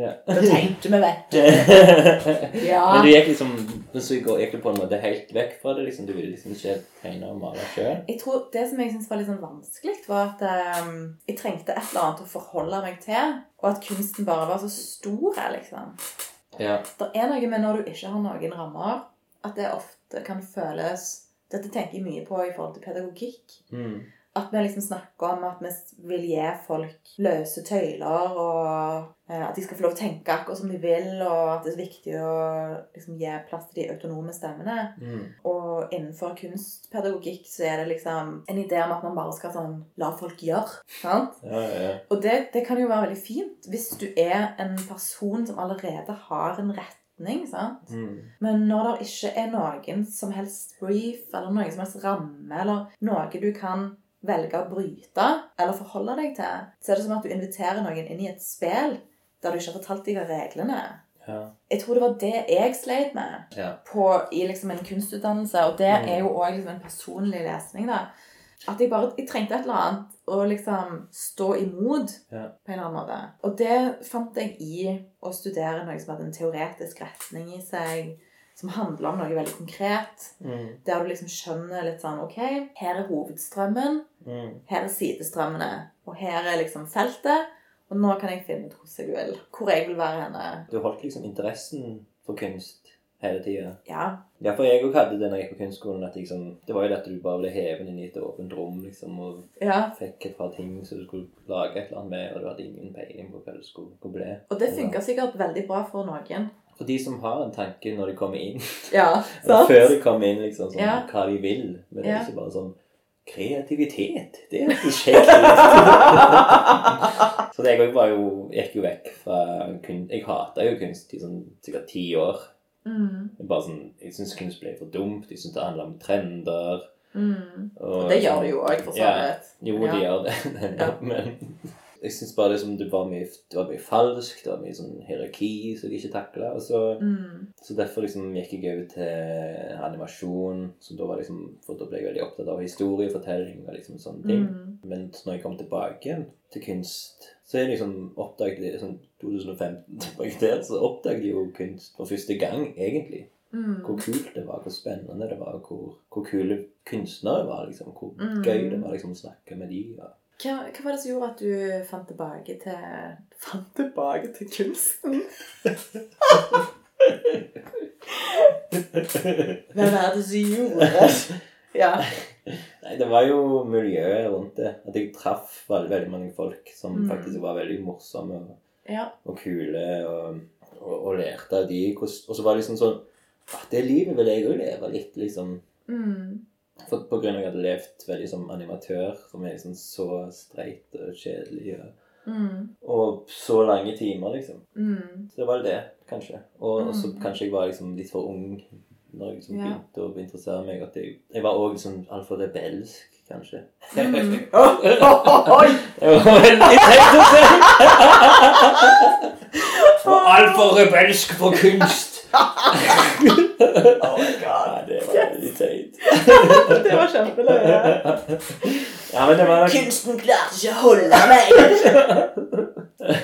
ja.
Da tenkte vi vekk. Ja.
Men du gikk liksom Men så går- gikk du på en måte helt vekk fra det? liksom Du ville liksom ikke tegne og male sjøl?
Jeg tror Det som jeg syntes var litt sånn vanskelig, var at ehm, jeg trengte et eller annet å forholde meg til. Og at kunsten bare var så stor. liksom.
Ja.
Det er noe med når du ikke har noen rammer, at det ofte kan føles Dette tenker jeg mye på i forhold til pedagogikk.
Mm.
At vi liksom snakker om at vi vil gi folk løse tøyler, og eh, at de skal få lov til å tenke akkurat som de vil, og at det er viktig å liksom, gi plass til de autonome stemmene.
Mm.
Og innenfor kunstpedagogikk så er det liksom en idé om at man bare skal sånn la folk gjøre. sant?
Ja, ja, ja.
Og det, det kan jo være veldig fint hvis du er en person som allerede har en retning. sant?
Mm.
Men når det ikke er noen som helst brief eller noen som helst ramme eller noe du kan velge å bryte eller forholde deg til, så er det som at du inviterer noen inn i et spill der du ikke har fortalt deg av reglene.
ja.
Jeg tror det var det jeg sleit med
ja.
på, i liksom en kunstutdannelse, og det
Mm.
er jo òg liksom en personlig lesning, da. At jeg bare jeg trengte et eller annet å liksom stå imot
Ja.
på en eller annen måte. Og det fant jeg i å studere noe som hadde en teoretisk retning i seg, som handla om noe veldig konkret.
Mm.
Der du liksom skjønner litt sånn OK, her er hovedstrømmen,
Mm.
her er sidestrømmene, og her er liksom feltet. Og nå kan jeg finne ut hvordan jeg vil. Hvor jeg vil være henne.
Du holdt liksom interessen for kunst hele tida.
Ja.
Ja, for jeg òg hadde det når jeg gikk på kunstskolen. at liksom, Det var jo det at du bare ble hevet inn i et åpent rom liksom, og
ja.
fikk et par ting som du skulle lage et eller annet med, og du hadde ingen peiling på hva det skulle hvor ble.
Og det funka sikkert veldig bra for noen.
For de som har en tanke når de kommer inn,
Ja,
eller
sant?
før de kommer inn, liksom, sånn,
Ja.
hva de vil. Men det
Ja.
er ikke bare sånn Kreativitet! Det er et prosjekt! Så det, jeg var jo, gikk jo vekk fra kunst. Jeg hata jo kunst i sånn, sikkert ti år.
Mm,
Det er bare sånn, Jeg syns kunst ble for dumt. Jeg syns det handler om trender.
mm. Og det gjør det jo òg, for
sånn.
så
Ja.
vidt.
Jo, det
Ja.
gjør det.
Ja.
Men jeg syns bare det, som det, var mye, det var mye falskt. Det var mye sånn hierarki som jeg ikke takla. Så,
Mm,
så derfor liksom gikk jeg over til animasjon. Så da var liksom, for da ble jeg veldig opptatt av historiefortelling og liksom sånne ting.
mm,
Men så når jeg kom tilbake igjen til kunst, så er jeg liksom oppdaget jeg sånn 2015 tilbake der, så oppdaget jeg jo kunst for første gang, egentlig hvor
mm.
kult det var, hvor spennende det var, hvor, hvor kule kunstnere var, liksom. Hvor
Mm.
gøy det var liksom, å snakke med de. Og,
Hva, hva var det som gjorde at du fant tilbake til Fant tilbake til kunsten? Hvem er det som gjorde det? Ja.
Nei, det var jo miljøet rundt det. At jeg traff veldig, veldig mange folk som
Mm.
faktisk var veldig morsomme og,
ja.
og kule, og, og, og lærte av de. hvordan- Og så var det liksom sånn at Det livet vil jeg òg leve litt, liksom.
Mm.
For, på grunn av at jeg hadde levd veldig som animatør, som er liksom så streit og kjedelig. Og,
Mm.
og så lange timer, liksom.
Mm.
Så det var det, kanskje. Og, og så
Mm.
kanskje jeg var liksom litt for ung når jeg liksom
Ja.
begynte å interessere meg. At jeg, jeg var òg liksom altfor rebelsk, kanskje.
Mm.
Oi! Det var veldig teit å si! Og altfor rebelsk for kunst.
Oh my
Nei, det var veldig teit.
Det var kjempeløye.
Ja, men det var nok
Kunsten klarte ikke å holde meg.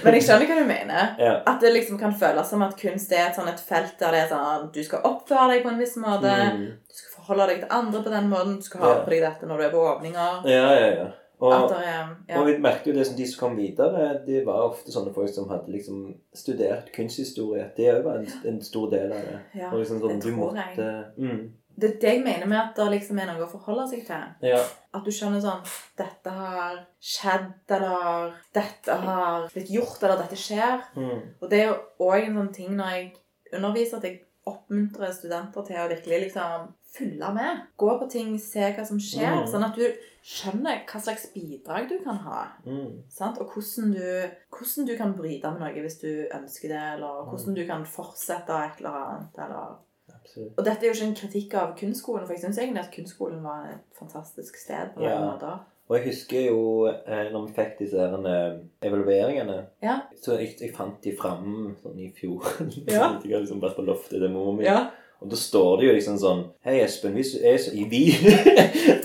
Men jeg skjønner hva du mener.
ja.
At det liksom kan føles som at kunst er et, sånn et felt der det er sånn du skal oppføre deg på en viss måte,
Mm.
du skal forholde deg til andre på den måten, du skal ha
Ja.
på deg dette når du er på åpninger.
ja, ja, ja.
At
Og,
det er, ja.
og vi merket jo det som de som kom videre, det var ofte sånne folk som hadde liksom studert kunsthistorie. Det òg var en, en stor del av det.
Ja,
Og liksom sånn,
det
du
tror jeg.
måtte mm,
Det er det jeg mener med at det liksom er noe å forholde seg til.
Ja.
At du skjønner sånn Dette har skjedd, eller dette har blitt gjort, eller dette skjer.
Mm.
Og det er jo òg en sånn ting når jeg underviser, at jeg oppmuntrer studenter til å virkelig liksom følge med. Gå på ting, se hva som skjer,
Mm.
sånn at du skjønner hva slags bidrag du kan ha.
Mm.
Sant? Og hvordan du, hvordan du kan bryte med noe hvis du ønsker det,
Mm.
eller hvordan du kan fortsette et eller annet. Eller.
Absolutt.
Og dette er jo ikke en kritikk av kunstskolen, for jeg syns egentlig at kunstskolen var et fantastisk sted. på
Ja.
mange måter.
Og jeg husker jo eh, når vi fikk disse her, eh, evalueringene
Ja.
Så jeg, jeg fant de fram sånn i fjor.
Ja.
jeg har liksom vært på loftet til mor mi.
Ja.
Og da står det jo liksom sånn Hei, Espen, hvis du er så i vi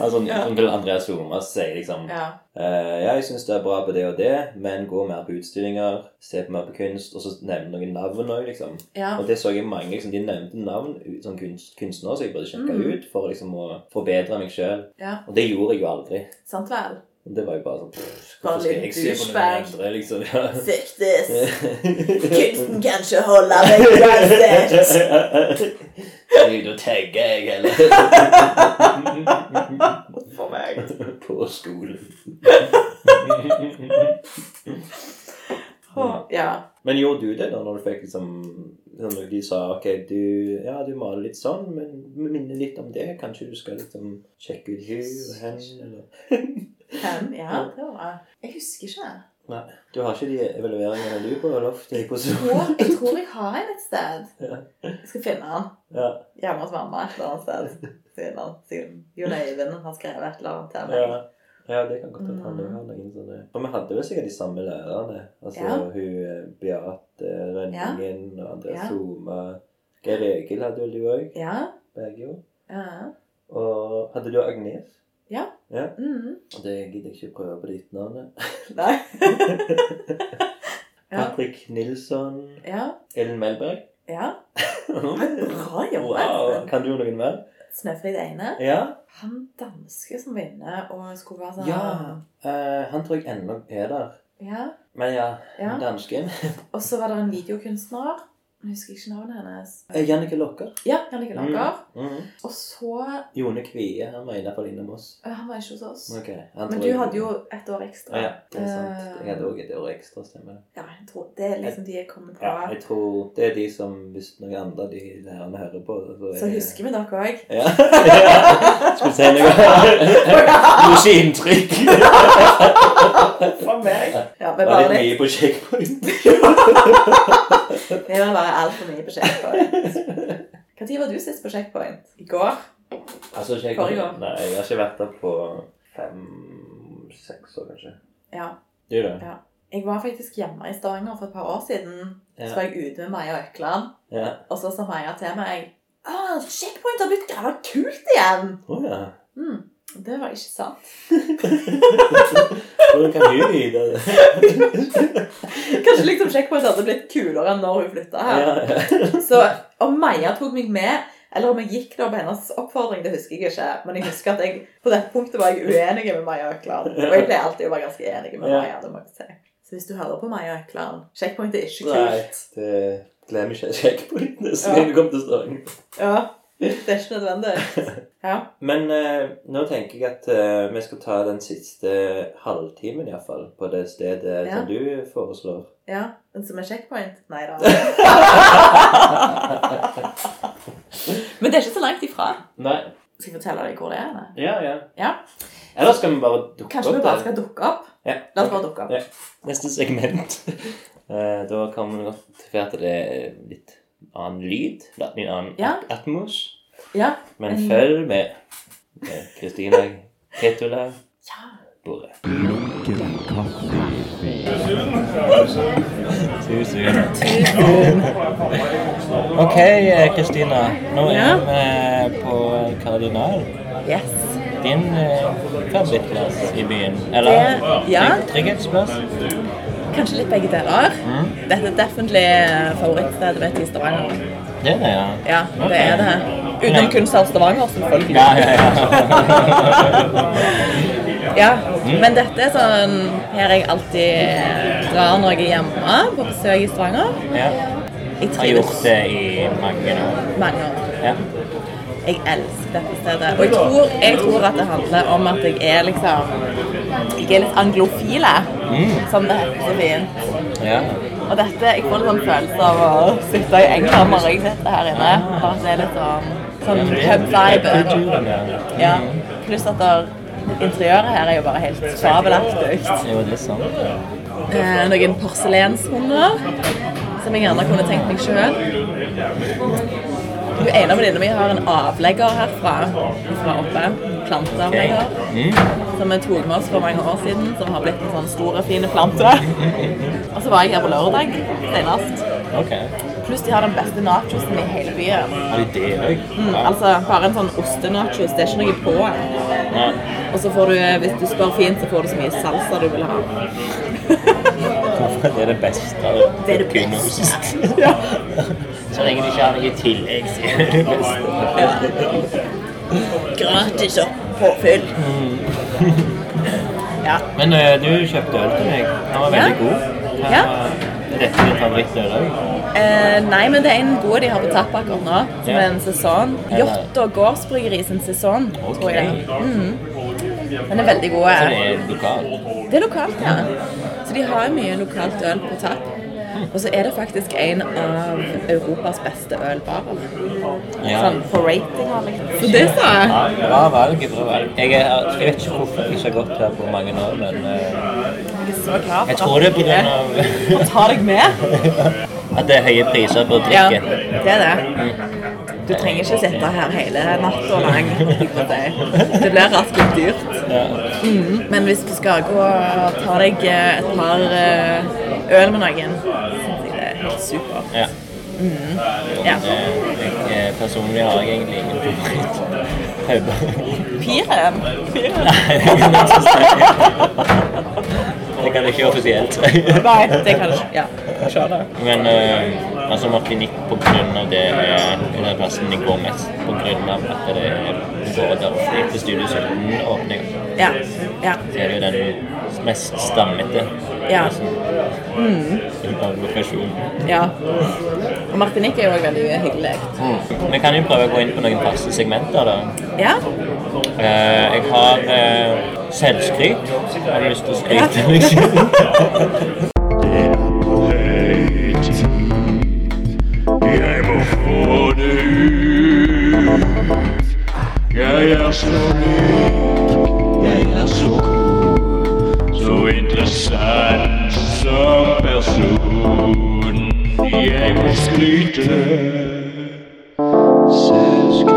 altså, sånn,
Ja.
sånn vil Andreas Jomas si liksom
ja.
«Eh, ja, jeg syns det er bra på det og det, men gå mer på utstillinger, se på mer på kunst, og så nevne noen navn òg, liksom.
ja.
Og det så jeg mange liksom, De nevnte navn ut- som kunst, kunstnere som jeg burde sjekke
Mhm.
ut for liksom å forbedre meg sjøl.
Ja.
Og det gjorde jeg jo aldri.
Sant vel?
Og Det var jo bare sånn pff,
Bare
Hvorfor skal
litt
jeg se på noen
douchebag.
andre, liksom? Ja.
Fuck this!
Kunsten
kan ikke holde meg
Slutt å tagge, jeg, heller.
for meg.
På skolen.
Ja.
Men gjorde du det da, når du fikk liksom sånn når De sa ok, du, ja, du maler litt sånn, men vi minner litt om det. Kanskje du skal liksom sjekke ut hun og hen? Eller?
Fem, ja, det var bra. Jeg husker ikke.
Nei. Du har ikke de evalueringene du på loftet i
Å,
posisjon?
jeg tror jeg har en et sted.
Ja.
Jeg skal finne den.
Ja.
Hjemme hos mamma et eller annet sted. Finne den. Siden Jon Øyvind har skrevet et eller annet til meg.
Ja. ja, det kan godt hende
Mm.
han òg har noen sånne. For vi hadde vel sikkert de samme lærerne. Altså
Ja.
hun eh, Beate Rønningen og Andreas
Ja.
Homa. Geir Egil hadde vel du òg?
Ja.
Begge jo.
ja.
Og hadde du Agnes?
Mm.
Og Det gidder jeg ikke prøve på ditt navn.
Nei. ja.
Patrick Nilsson.
ja.
Ellen Melberg.
Ja.
wow.
Bra jobba. Espen.
Kan du noen mer?
Snøfrid Eine.
Ja.
Han danske som var inne og skulle være sånn
ja. eh, han tror jeg ennå er der.
ja.
Men ja,
Ja.
dansken.
Og så var det en videokunstner. Jeg husker ikke navnet hennes.
Eh, Jannicke Locker.
Ja, Jannicke Lager.
Mhm.
Og så
Jone Kvie. Han var inne på Line Moss.
Øh, Han var ikke hos oss.
Ok, han
Men
tror
du
jeg-
hadde jo et år ekstra.
ah, ja, det er sant.
Eh,
Jeg hadde også et år ekstra, stemmer det.
ja, jeg tror Det er liksom de jeg kommer på.
Ja, jeg tror det er de som Hvis noen andre av de lærerne hører på det, så, er-
Så husker vi dere òg.
Ja. ja. Skulle si noe. Gjorde ikke inntrykk.
For meg. Ja, vi
Det
var
var litt
litt
mye på checkpoint.
Vi var bare altfor mye på checkpoint. Når var du sist på checkpoint? I går?
Altså,
Forrige gang.
checkpoint. Nei, jeg har ikke vært der på fem-seks år, kanskje.
Ja.
Du, da?
Ja. Jeg var faktisk hjemme i Stavanger for et par år siden. Så var jeg ute med Maja Økland,
Ja.
og så sa Maja til meg «Åh, checkpoint har blitt grava kult igjen!
Å ja.
Mm, det var ikke sant.
Hvordan kan hun vite det?
Kanskje Ah, liksom checkpoint hadde blitt kulere enn når hun flytta her.
Ja, ja.
Så om Maja tok meg med Eller om jeg gikk da på hennes oppfordring, det husker jeg ikke. Men jeg husker at jeg på det punktet var jeg uenig med Maja Økland. Og jeg pleier alltid å være ganske enig med
Ja.
Maja. det må jeg si. Så hvis du hører på Maja Økland Checkpoint er ikke
Nei,
kult.
det glemmer ikke jeg ikke på litt nesten
Ja.
gang du kommer til strøm.
Ja, Det er ikke nødvendig. Ja.
Men eh, nå tenker jeg at eh, vi skal ta den siste halvtimen iallfall på det stedet
Ja.
som du foreslår.
ja. Men Som er checkpoint? Nei da. Men det er ikke så langt ifra.
Nei.
Skal jeg fortelle deg hvor det er? eller?
Ja, ja.
Ja.
Eller skal vi bare dukke
Kanskje vi
opp
bare
der?
skal dukke opp?
Ja.
La oss bare dukke opp.
Ja. Neste segment. Eh, da kan vi godt til at det er litt annen lyd. Litt annen
Ja.
at- atmos.
Ja.
Men
Mm.
følg med med Kristina Ketula
ja.
Bore. Ok, eh, Kristina. Nå
Ja.
er vi eh, på Kardinal.
Yes.
Din eh, favorittplass i byen.
Det- ja. trygg-
trygghetsplass.
Kanskje litt begge deler.
Mm.
Dette er definitely eh, favorittstedet mitt i Stavanger.
Det er det, ja.
Ja, det er det. Uten
Ja.
kunstner Stavanger, selvfølgelig.
Ja, ja, ja.
Ja,
Mm.
men dette er sånn Her jeg alltid eh, drar når jeg er hjemme på besøk i Stavanger.
ja.
Jeg
Har gjort
trives
det i mange år.
mange år.
Ja.
Jeg elsker dette stedet. Og jeg tror, jeg tror at det handler om at jeg er liksom Jeg er litt anglofile,
Mm.
som det heter så fint.
ja.
Og dette, jeg får litt sånn følelse av å sitte i engkammer jeg sitter her inne. Og at det er litt sånn, sånn pub-vibe.
Kulturen, ja.
Ja. Pluss at der, interiøret her er jo bare helt fabelaktig.
Jo, det er sant.
Eh, noen porselenshunder som jeg gjerne kunne tenkt meg sjøl. Hun ene venninna mi har en avlegger herfra, fra oppe. Planteavlegger. Som vi tok med oss for mange år siden, som har blitt en sånn stor, fin plante. Og så var jeg her på lørdag senest.
Ok.
Pluss de har den beste nachosen i hele byen.
Har de det òg?
Mm, altså bare en sånn ostenachos. Det er ikke noe på.
Nei.
Og så får du, eh, hvis du spør fint, så får du så mye salsa du vil ha.
Hvorfor er det det beste av
Det er det
kunost? ja. Så lenge de ikke har noe i tillegg, så er det det beste.
Gratis og påfyll.
Mm.
ja.
Men eh, du kjøpte øl til meg. Den var veldig god.
Ja.
Eh, er Dette er din favorittøl òg.
Eh, nei, men det er en god de har på tapp akkurat nå, som
Ja.
er en sesong.
Ja.
Hjort og Gårdsbryggeri sin sesong, tror jeg. det er. Mhm. Den er veldig god.
Så det er lokal.
Det er lokalt, ja. Så de har mye lokalt øl på tapp. Og så er det faktisk en av Europas beste ølbarer.
Ja.
Sånn for rating har liksom. Så det sa jeg.
Bra valg. bra valg. Jeg, er, jeg vet ikke hvorfor jeg ikke har gått her på mange år, men eh,
Jeg er så glad for
jeg tror det er på grunn av
Å ta deg med?
at det er høye priser på
Ja,
drikken.
det er det. Du trenger ikke sitte her hele natta lang. holdt jeg på å si. Det blir raskt litt dyrt. Mhm. Men hvis du skal gå og ta deg eh, et par eh, øl med noen, syns jeg det er helt supert.
Ja.
Mm. Ja.
Jeg, jeg, personlig har jeg egentlig ingen favoritt.
Piren. Piren.
Det kan jeg ikke offisielt.
Nei, det kan jeg ikke. Ja.
Men eh, altså Martinique på grunn av det er den plassen jeg går mest. På grunn av at det er du går der ofte etter Studio 17 åpning.
Ja. ja.
Så er det jo den mest stammete Altså,
Ja. Mm.
plassen. Av lokasjonen.
ja. Og Martinique er jo også veldig hyggelig.
Vi kan jo prøve å gå inn på noen faste segmenter, da.
Ja.
Eh, jeg har eh, selvskryt. Har du lyst til å skryte,
Ja.
liksom?
Jeg må få det ut. Jeg er så lik, jeg er så cool, så interessant som person. Jeg må skryte. Selvskryt.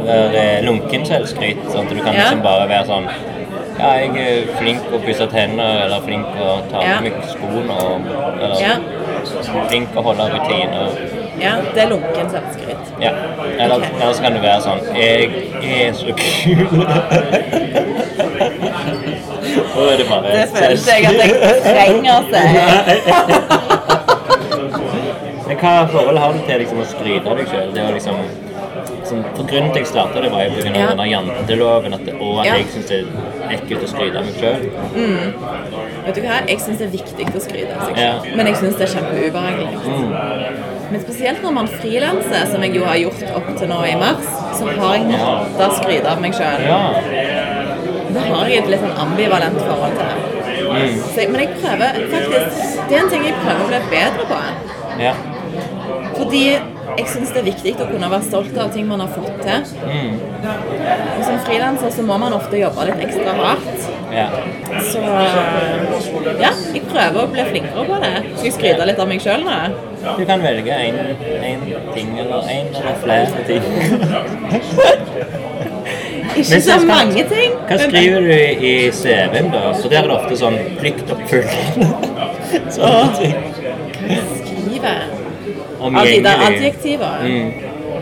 Eller eh, lunken selvskryt. Sånn at du kan
Ja.
liksom bare være sånn Ja, jeg er flink å pusse tenner, eller flink å ta
Ja.
av meg skoene, og eller
Ja.
flink å holde rutiner.
ja. Det er lunken selvskryt.
Ja. Eller,
Ok.
eller så kan du være sånn Jeg er så kul. Da er det bare
Det føles jeg at jeg trenger seg.
Nei. Det Men hva forhold har du til liksom, å skryte av deg sjøl? Det var liksom som, For grunnen til at jeg starta det, var jo pga.
Ja.
Ja. denne janteloven. At, det- og at
Ja.
jeg syns det er ekkelt å skryte av meg sjøl.
Vet du hva? Jeg syns det er viktig å skryte av seg
Ja. Mm.
selv, men jeg syns det er kjempeubehagelig. Men spesielt når man frilanser, som jeg jo har gjort opp til nå i mars, så har jeg måttet skryte av meg sjøl.
Ja.
Da har jeg et litt sånn ambivalent forhold til det.
Mm.
Så jeg, men jeg prøver faktisk Det er en ting jeg prøver å bli bedre på.
ja.
Fordi jeg syns det er viktig å kunne være stolt av ting man har fått til. Og som frilanser så må man ofte jobbe litt ekstra hardt.
ja.
Så ja, jeg prøver å bli flinkere på det. Skal jeg skryte litt av meg sjøl nå?
Du kan velge én ting eller én eller flere ting.
Ikke så mange ting.
Hva
men-
skriver du i CV-en, da? For der er det ofte sånn pliktoppfyllende. Sånne ting.
skriver? Av de der
Omgjengelig.
adjektiver.
Mm.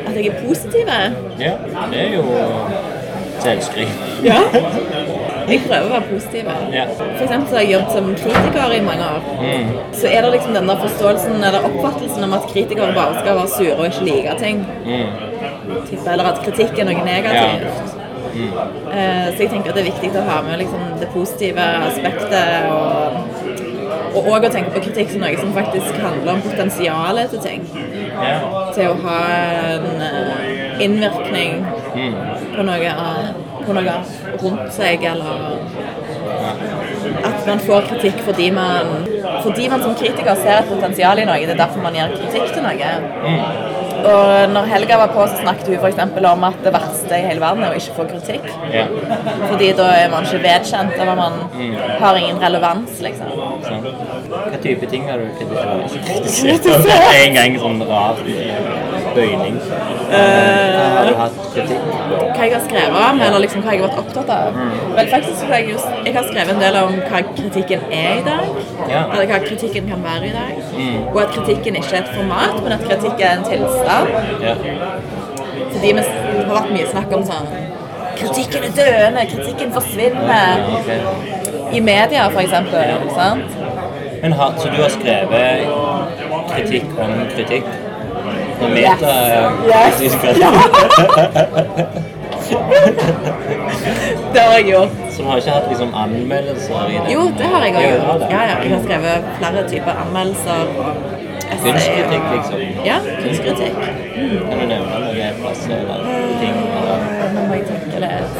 At jeg er positiv.
Ja, det er jo selvskriv.
Ja. Jeg prøver å være positiv.
Ja.
For eksempel så har jeg jobbet som kritiker i mange år. Så er det liksom den der forståelsen eller oppfattelsen om at kritikere bare skal være sure og ikke like ting. Tipper, Eller at kritikk er noe negativt. Eh, Så jeg tenker at det er viktig å ha med liksom det positive aspektet og og også å tenke på kritikk som noe som faktisk handler om potensialet til ting.
Ja.
Til å ha en eh, innvirkning på noe, av- på noe rundt seg, eller at man får kritikk fordi man, fordi man som kritiker ser et potensial i noe. Det er derfor man gir kritikk til noe. Og når Helga var på, så snakket hun f.eks. om at det verste i hele verden er å ikke få kritikk.
ja.
Fordi da er man ikke vedkjent, eller man har ingen relevans, liksom.
Sånn. Hva type ting har du kritisert? Kritisert? En gang sånn rar bøyning. Hva
Eh,
har du hatt kritikk på?
Hva jeg har skrevet om, eller liksom hva jeg har vært opptatt av. Vel, faktisk så har jeg, jo- jeg har skrevet en del om hva kritikken er i dag.
Ja.
Eller hva kritikken kan være i dag. Og at kritikken ikke er et format, men at kritikk er en tilstand.
Ja.
Fordi vi det har vært mye snakk om sånn Kritikken er døende, kritikken forsvinner.
Ok.
I media, for eksempel. Sant?
Men har, så du har skrevet kritikk om kritikk? Og meta...
Yes.
Yes.
Det har jeg gjort.
Som har ikke hatt liksom anmeldelser i det?
Jo, det har jeg
Ja,
også
du har
gjort.
det.
Ja, ja. Jeg har skrevet flere typer anmeldelser. og essayer.
Kunstkritikk, liksom.
Ja, kunstkritikk.
Kan du nevne noen plasser eller ting? Eller?
Eh, Nå må jeg tenke litt.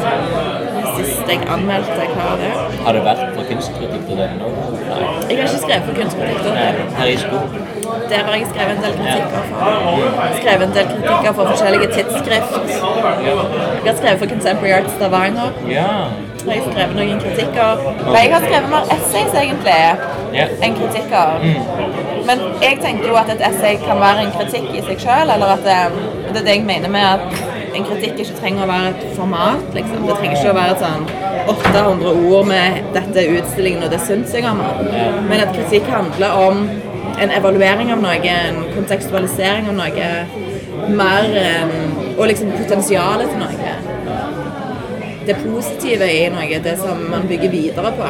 Det siste jeg anmeldte, hva var det?
Har det vært på kunstkritikk til deg nå? Nei.
Jeg har ikke skrevet for kunstkritikk.
Nei,
da.
Her i skolen?
Der har jeg skrevet en del kritikker for. Skrevet en del kritikker for forskjellige tidsskrift. Jeg har skrevet for Contemporary Art Stavanger.
Ja.
Jeg har skrevet noen kritikker. Men jeg har skrevet mer essays, egentlig,
Ja.
enn kritikker. Men jeg tenker jo at et essay kan være en kritikk i seg sjøl, eller at det, det er det jeg mener med at en kritikk ikke trenger å være et format, liksom. Det trenger ikke å være et sånn 800 ord med 'dette er utstillingen, og det syns jeg om'. den». Men at kritikk handler om en evaluering av noe, en kontekstualisering av noe, mer enn- Og liksom potensialet til noe det positive i noe, det som man bygger videre på.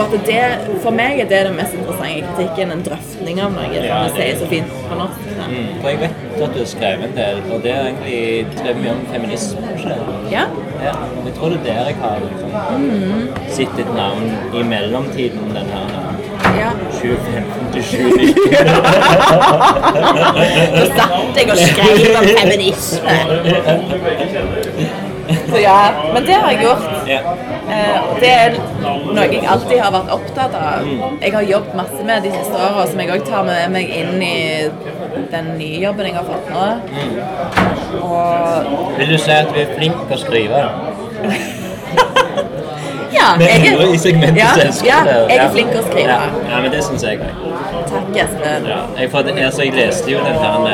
Og at det, For meg er det det mest interessante i kritikken, en drøftning av noe, som det sier så fint på norsk. da.
Mm. For jeg vet at du har skrevet en del, og det er egentlig drevet mye om feminisme. ikke det?
Ja.
Ja. Jeg tror det er der jeg har liksom,
Mm.
sett et navn i mellomtiden den her
ja.
2015 til 2019.
Da satt jeg og skrev om feminisme. Så ja, men det har jeg gjort.
Ja.
Eh, og Det er noe jeg alltid har vært opptatt av. Jeg har jobbet masse med de siste årene, som jeg også tar med meg inn i den nye jobben jeg har fått nå. Og
Vil du si at du er flink til å skrive?
Ja, jeg er,
i segmentet
ja,
så elsker
ja,
det.
jeg er flink til å skrive.
Ja, ja men det syns jeg òg.
Takk, Espen.
Ja, jeg, for, altså, jeg leste jo den der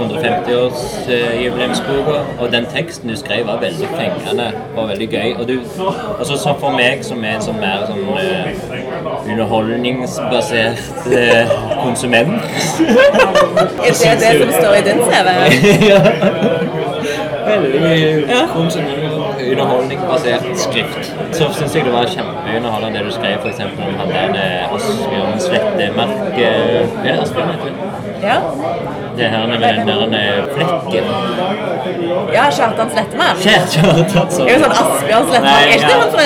150-årsjubileumsboka, eh, og den teksten du skrev var veldig fengende og veldig gøy. Og du, altså, så for meg som er en sånn mer sånn eh, underholdningsbasert eh, konsument
Er det det som står i din CV?
Ja. Veldig konsumt underholdningsbasert skrift. Så syns jeg det var kjempeunderholdende det du skrev f.eks. om han der eh, Asbjørn Slette Merke Er det Asbjørn heter? det?
Ja.
Det her med den der eh, flekken.
ja, Kjartan Slettemann.
Kjært kjørt, altså.
Det er jo sånn Asbjørn
Nei,
Slettemann. Er ikke det
ja.
han fra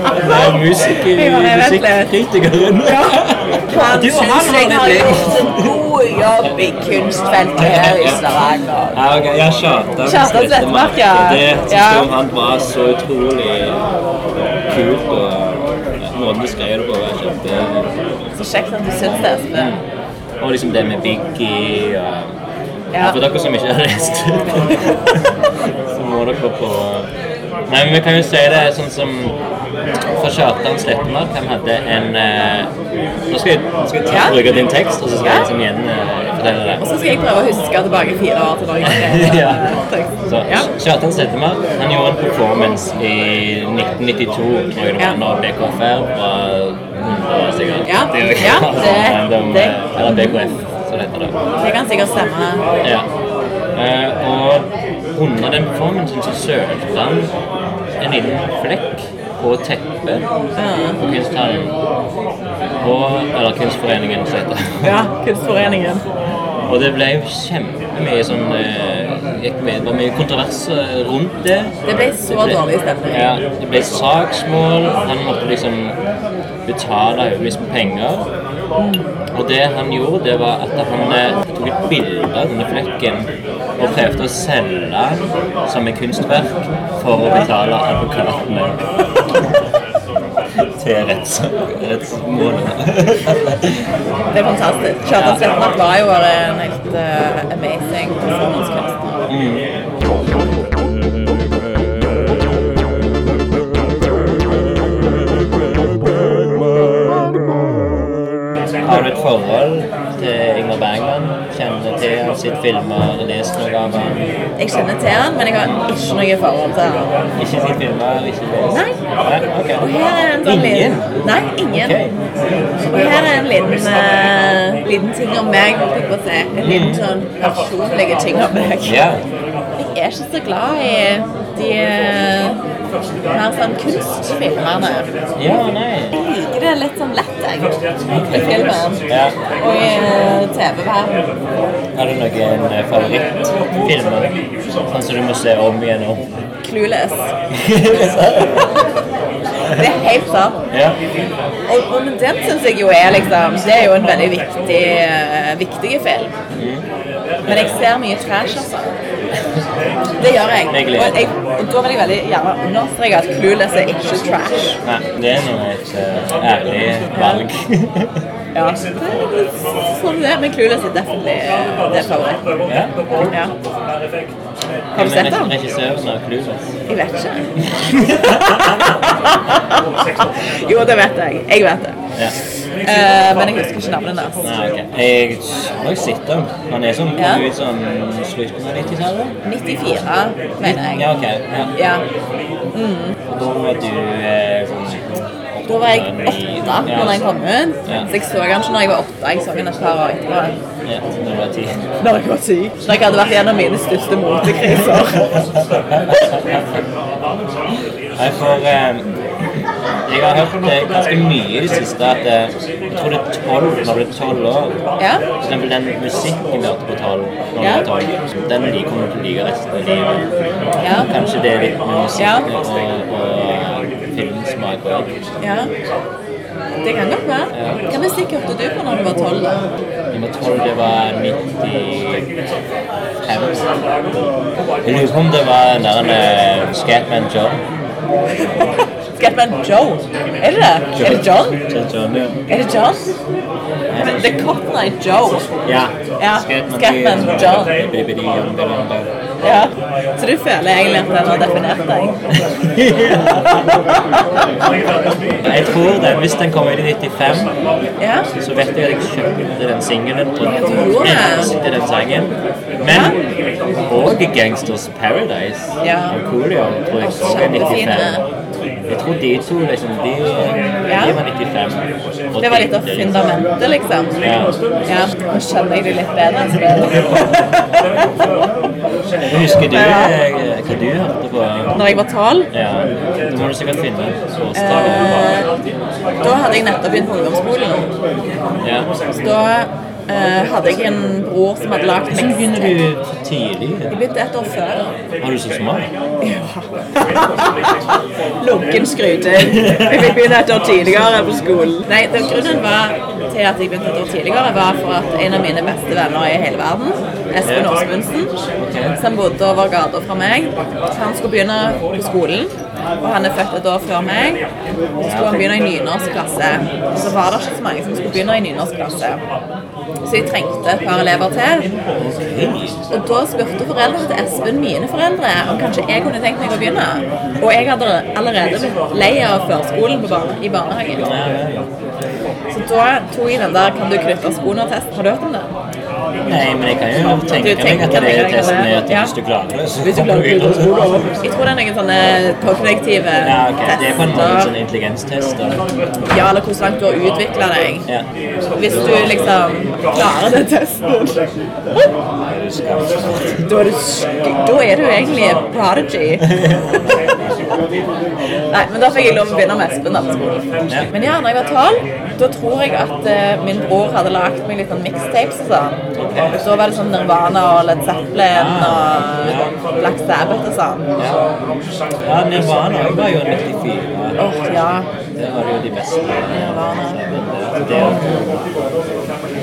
NRK?
Det er musik-
Jeg bare vet litt.
musikkritikeren. Du
Han
og han
synes jeg
har
har
det
gjort en god jobb i kunstfeltet her i Stavanger.
Ja, ok, ja, Kjartan
Kjartan Slettemark, ja.
Det synes
Ja.
jeg om han var så utrolig kult, og ja, måten du skrev det på var kjempe...
Så kjekt at du syns det, Espen.
Og liksom det med Biggie og...
Ja.
For dere som ikke har lest så må dere på eh, Nei, men vi kan jo si det sånn som For Kjartan Slettemark, han hadde en eh, Nå skal jeg, skal jeg ta,
Ja.
bruke din tekst, og så skal
Ja.
jeg liksom igjen eh, fortelle det.
Og så skal jeg prøve å huske tilbake fire år til Norge.
Ja. Så,
Ja.
Kjartan Settemark han gjorde en performance i 1992 tror jeg det
Ja.
var, når BKFR var 100 sikkert.
Ja.
Det er jo ikke
Ja,
sånn
det-
random,
det-
eh, Eller BKF, som det heter det.
Det kan sikkert stemme.
Ja. Eh, og under den performancen så sølte han en liten flekk på teppet på kunsthallen. Og, eller Kunstforeningen, som heter det.
Ja, Kunstforeningen.
Og det ble jo kjempemye sånn eh, gikk med, Det var mye kontrovers eh, rundt det.
Det ble så
Det ble-
dårlig stemning.
Ja, det ble saksmål. Han måtte liksom betale overvis med penger.
Mm.
Og det han gjorde, det var at han eh, tok et bilde av denne flekken og prøvde å selge den som et kunstverk for å betale advokatene. Til retts- rettsmålet.
Det er fantastisk. Kjartan Slettemark var jo bare en helt eh, amazing performancekunstner.
Har du et forhold til Ingmar Bergman? Kjenner til han sitt filmer, lest noe av han?
Jeg kjenner til han, men jeg har ikke noe forhold til han.
Ikke sitt filmer, ikke lest?
Nei.
Nei, ok.
Og her er en sånn liten
Ingen?
Nei, ingen.
Ok.
Og her er en liten, eh, liten ting om meg. holdt jeg på å si. En liten sånn personlig ting om meg.
Ja.
Jeg er ikke så glad i de eh, mer sånn kunstfilmerne.
Ja, nei.
Jeg liker det litt sånn lett, jeg. I filmen
Ja.
og i eh, TV-verden.
Har du noen eh, favorittfilmer? Sånn som du må se om igjen og om?
Clueless. Det er helt sant.
ja.
Og, og men den syns jeg jo er liksom Det er jo en veldig viktig, eh, viktig film. Men jeg ser mye trash, altså. Det gjør jeg.
Det er glede.
Og, jeg, og da vil jeg veldig gjerne understreke at Clueless er ikke trash.
Nei, det er nå et eh, ærlig valg.
Ja. Sånn det er, men Clueless er definitely eh, det favoritten.
ja.
Ja. Har du
Hvem
sett
er
den?
Regissøren av Clueless.
Jeg vet ikke. jo, det vet jeg. Jeg vet det.
Ja.
Eh, men jeg husker ikke navnet hans.
Nei, ok. Jeg har jo sett den. Han er sånn,
Ja.
kom ut sånn slutten av 90-tallet.
94, mener jeg.
Ja, ok. Ja.
Ja.
Og Da var du eh, sånn
Da var jeg åtte
Ja,
når den kom ut.
Ja.
Så jeg så den ikke når jeg var åtte. Jeg så den et par år etterpå.
Ja, da du var ti.
Når jeg var ti. Når jeg hadde vært gjennom mine største motekriser.
Nei, for eh, jeg har hørt eh, ganske mye i det siste at eh, jeg tror det er tolv når du er tolv år.
Ja.
For eksempel den musikken vi hørte på tolv, når du
Ja.
var tolv, den de kommer til å like resten av livet.
Ja.
Kanskje det er litt med musikk
Ja.
og, og filmsmak også.
ja. Det kan godt være. Hva musikk hørte du på når du var tolv? da?
Jeg var tolv, det var 95. Jeg lurer på om det var den der eh, Scatman John.
Scatman Joe. Er det det? Er det John?
John, John, ja.
Er det John? Men Det er Cotton Eye Joe.
Ja.
Ja, Scatman John. Ja. Så du føler egentlig at den har definert deg?
Jeg tror det. Hvis den kommer ut i 95,
Ja.
så vet jeg at jeg kjøpte den singelen og
gjorde det.
spilte den sangen. Men og Gangsters Paradise
Ja.
av Coolio tror jeg også er 95. Jeg tror de to liksom, de,
Ja.
de var 95. og
Det var litt av
tenkte
fundamentet, liksom.
Ja.
Ja, nå skjønner jeg det litt bedre. enn så det.
Jeg Husker du eh, hva du hørte på?
Når jeg var tolv,
Ja, det må du sikkert finne. Så start med
eh,
bare.
da hadde jeg nettopp begynt på ungdomsskolen.
Ja.
Så da eh, hadde jeg en bror som hadde lagd
Så begynner
mixtape.
du for tidlig.
Jeg begynte ett år før.
Var du så smart?
Lunken skryting. Jeg fikk begynne et år tidligere på skolen. Nei, den grunnen var til at jeg begynte et år tidligere, var for at en av mine beste venner i hele verden, Espen Åsmundsen, som bodde over gata fra meg, han skulle begynne på skolen. Og han er født et år før meg. Så skulle han begynne i nynorskklasse. Så var det ikke så mange som skulle begynne i nynorskklasse. Så jeg trengte et par elever til. Og da spurte foreldrene til Espen mine foreldre om kanskje jeg kunne tenkt meg å begynne. Og jeg hadde allerede blitt lei av førskolen på barne, i barnehagen. Så da tok jeg den der 'kan du knytte skoene'-test. Har du hørt om det?
Nei, men jeg kan jo tenke
Du tenker
meg at det
deg
er
at det-
testen er at
ja.
hvis du klarer det, så
Hvis du
kommer
klarer
du
det, så
videre.
Jeg tror det er noen sånne kognitive
Ja, ok. Det er på en måte en sånn
tester.
intelligenstest. da.
Ja, eller hvor langt du har utvikla deg.
Ja.
Hvis du liksom klarer den testen, da er du, sk- da er du egentlig prodigy. Nei, men da fikk jeg lov å begynne med Espen. da, på skolen.
Ja.
Men ja, når jeg var tolv, da tror jeg at eh, min bror hadde lagd meg litt sånn mixtapes og sånn. Og Da var det sånn Nirvana og Led Zeppelin
Ah,
og Black Sabbath og sånn.
Ja, Nirvana også var jo 94.
Åh, ja.
Det var jo de beste.
Nirvana.
Det det er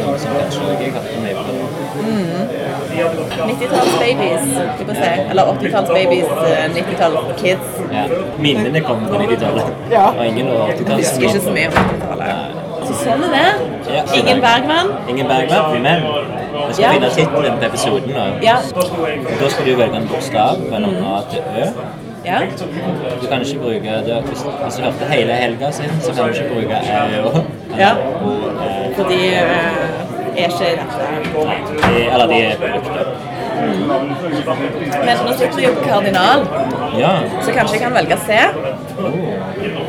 noe som kanskje ikke jeg hadde med på.
90-tallsbabies, skal vi se. Eller eh, 80-tallsbabies, 90-tallskids.
Ja. Minnene kom på 90-tallet.
Ja.
Og ingen over
Jeg husker ikke så mye om 80-tallet. Så sånn er det.
Ja.
Ingen Bergman.
Ingen Bergman, men vi skal
Ja.
finne tittelen på episoden. nå.
Ja. Mm.
Da skal du velge en bokstav mellom A til Ø.
ja.
Du kan ikke bruke det. Hvis hvis du hørte hele helga sin, så kan du ikke bruke Æ og
Ja.
Og, eh,
Fordi eh, er ikke dette.
nei, de, eller de er brukt opp.
Men nå sitter vi jo på Kardinal,
Ja. Oh.
så kanskje jeg kan velge C.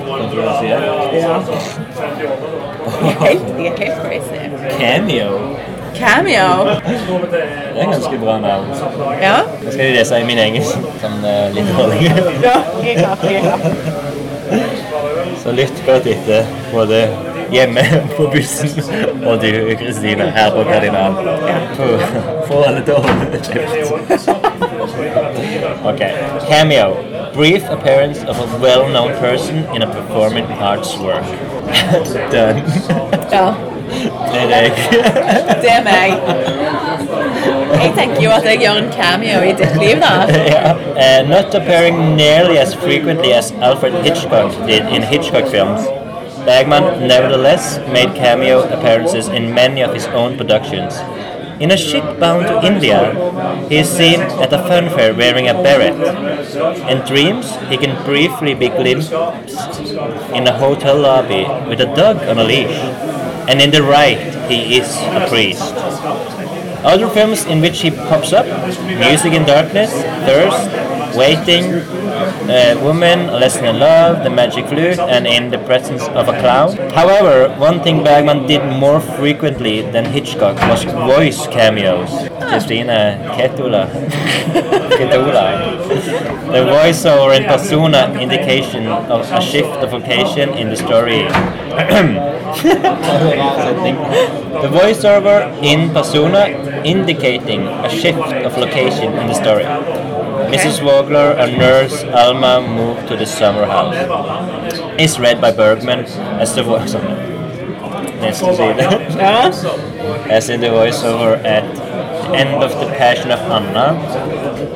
Kontroversiell.
Jeg er helt, jeg er helt crazy.
Cameo.
Cameo.
Det er ganske bra navn.
Ja.
Nå skal jeg lese i min engelsk. Sånn eh, litt dårlig.
Jeg er klar, jeg er klar.
Så lytt godt etter, eh, både hjemme på bussen og du, Kristine, her på Kardinal. For- For alle dårlige kjeft. Ok. Cameo. Brief appearance of a well-known person in a performing arts work. Done.
Ja,
Det er jeg.
det er meg. Jeg tenker jo at jeg gjør en cameo i ditt liv, da.
Yeah. Uh, not appearing nearly as frequently as Alfred Hitchcock did in Hitchcock films, Bergman nevertheless made cameo appearances in many of his own productions. In a ship bound to India, he is seen at a funfair wearing a beret. In dreams, he can briefly be glimpsed in a hotel lobby with a dog on a leash. And in the right, he is a priest. Other films in which he pops up Music in Darkness, Thirst, Waiting, uh, Woman, A Lesson in Love, The Magic Flute, and In the Presence of a Clown. However, one thing Bergman did more frequently than Hitchcock was voice cameos. Christina Ketula. Ketula. The voiceover and persona indication of a shift of vocation in the story. The voiceover in persona indicating a shift of location in the story. Mrs. Vogler, a nurse, Alma moved to the summer house. Is read by Bergman as the voice. Neste side. as in the voiceover at the end of The Passion of Anna.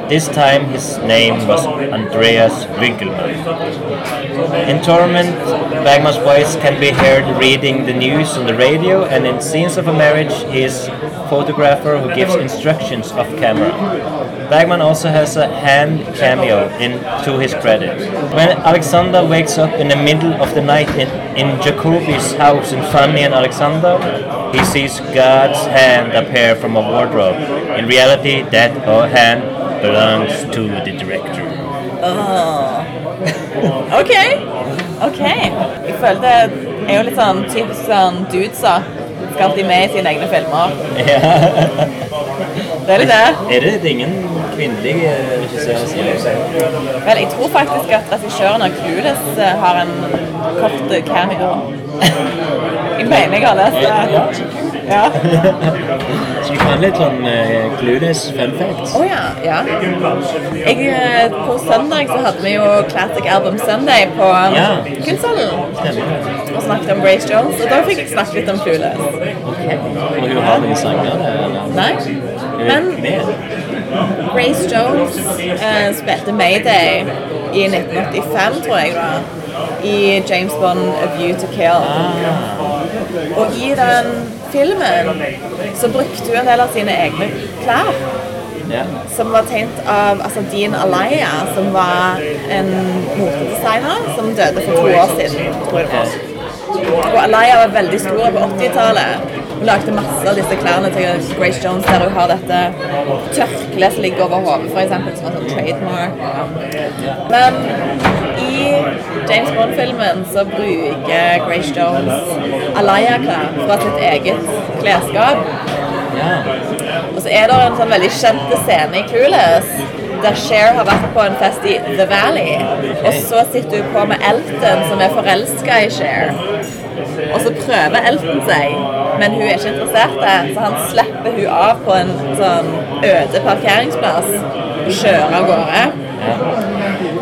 This time his name was Andreas Winkelmann. In Torment, Bergman's voice can be heard reading the news on the radio, and in scenes of a marriage, he is photographer who gives instructions off camera. Bergman also has a hand cameo in to his credit. When Alexander wakes up in the middle of the night in, in Jacobi's house in Fanny and Alexander, he sees God's hand appear from a wardrobe. In reality, that hand belongs to the director.
OK. ok. Jeg følte Jeg er jo litt sånn typisk sånn dudesa. Skal alltid med i sine egne filmer.
Ja.
Det er litt det.
Er det ingen kvinnelige regissører sier.
Vel, jeg tror faktisk at regissøren av Clueless eh, har en kort eh, cameo. jeg mener jeg har lest det. Ja.
Så du kan litt sånn eh, Clueless fun facts.
Å ja. ja. Jeg, eh, på søndag så hadde vi jo Classic Album Sunday på um,
Ja.
Kunsthallen.
Stemmer.
Og snakket om Grace Jones, og da fikk jeg snakket litt om Clueless.
Og hun har noen sanger der. eller?
Nei?
Hun er
Men
med.
Grace Jones eh, spilte Mayday i 1985, tror jeg det var, i James Bond A View to Kill. Og i den filmen så brukte hun en del av sine egne klær,
Ja.
som var tegnet av altså, Dean Alaya, som var en motedesigner som døde for to år siden, tror jeg det var. Og Alaya var veldig stor på 80-tallet. Hun lagde masse av disse klærne til Grace Jones, der hun har dette tørkleet som ligger over hodet, f.eks., som var sånn trademark. Men i James Bond-filmen så bruker Grace Jones Alaya-klær fra sitt eget klesskap.
ja.
Og så er det en sånn veldig kjent scene i Clueless der Cher har vært på en fest i The Valley. Og så sitter hun på med Elton, som er forelska i Cher. Og så prøver Elton seg, men hun er ikke interessert, der, så han slipper hun av på en sånn øde parkeringsplass og kjører av gårde.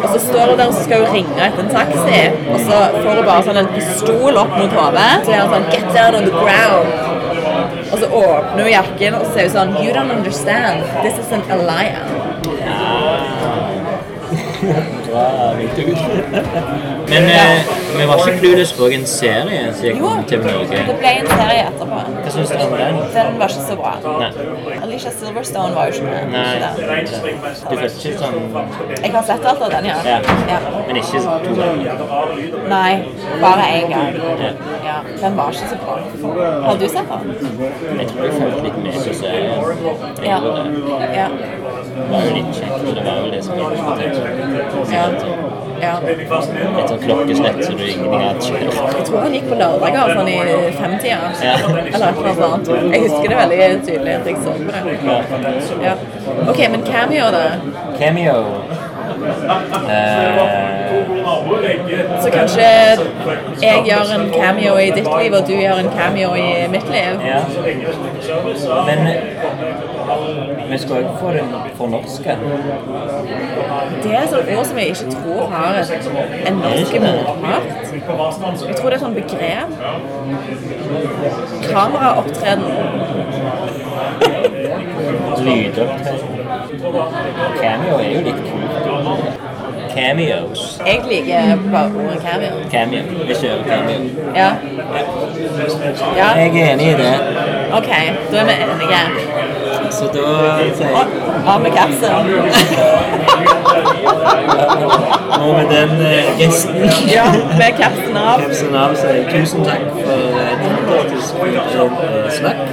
Og så står hun der og så skal hun ringe etter en taxi, og så får hun bare sånn en pistol opp mot hodet. Så gjør hun sånn Get down on the ground. Og så Altså, åpner hun jakken og ser ut sånn You don't understand. This is an alliance.
Bra ringt ut. Men eh, vi var ikke Clueless på en serie som gikk
Jo,
på TV Norge.
det ble en serie etterpå.
Hva syns du om den?
Den var ikke så bra.
Nei.
Alicia Silverstone var jo ikke med.
Nei.
ikke det?
Du følte ikke sånn
Jeg har sett alt av den, ja.
Ja.
ja.
Men ikke to ganger.
Nei, bare én gang. Ja. Den var ikke så bra. Har du sett den?
Jeg tror jeg følte litt mer på serien. Jeg
Ja.
gjorde det.
Ja.
Det var jo litt kjekt, og det var jo det som gjorde at jeg tenkte.
ja. ja.
Et sånt klokkeslett som du ingenting hadde skjedd.
Jeg tror han gikk på lørdager sånn i femtida.
Ja.
Eller et eller annet. Jeg husker det veldig tydelig at jeg så på det. Ja. OK, men cameo, da?
Cameo. Eh,
Så kanskje jeg gjør en cameo i ditt liv, og du gjør en cameo i mitt liv.
ja. Men vi skal jo ikke få den fornorska.
Det er et sånt ord som jeg ikke tror har et- en norsk motpart. Jeg tror det er et sånt begrep. Kameraopptreden.
Lydopptreden. Cameo er jo litt kult. Cameos.
Jeg liker bare ordet cameo.
Cameo. Vi kjører cameo.
Ja. Ja,
Jeg er enig i det.
OK. Da er vi enige.
Så da sier
Og
jeg
Av med kapsen.
Og med den eh, gesten
Ja, med kapsen av.
Kapsen av sier tusen takk for et fantastisk eh, snakk.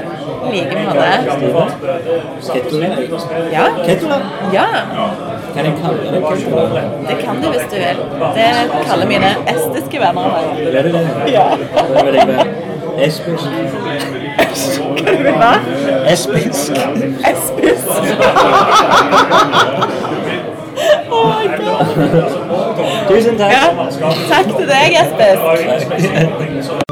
I like måte.
Ketula.
Ja.
Ketula?
ja.
Kan jeg kalle det Ketula?
Det kan du hvis du vil. Det kaller mine estiske venner meg.
Gjør du det? Ja. Da vil jeg være Espisk.
Hva?
Espisk.
Espis. oh my god.
Tusen takk.
Ja. Takk til deg, Espis.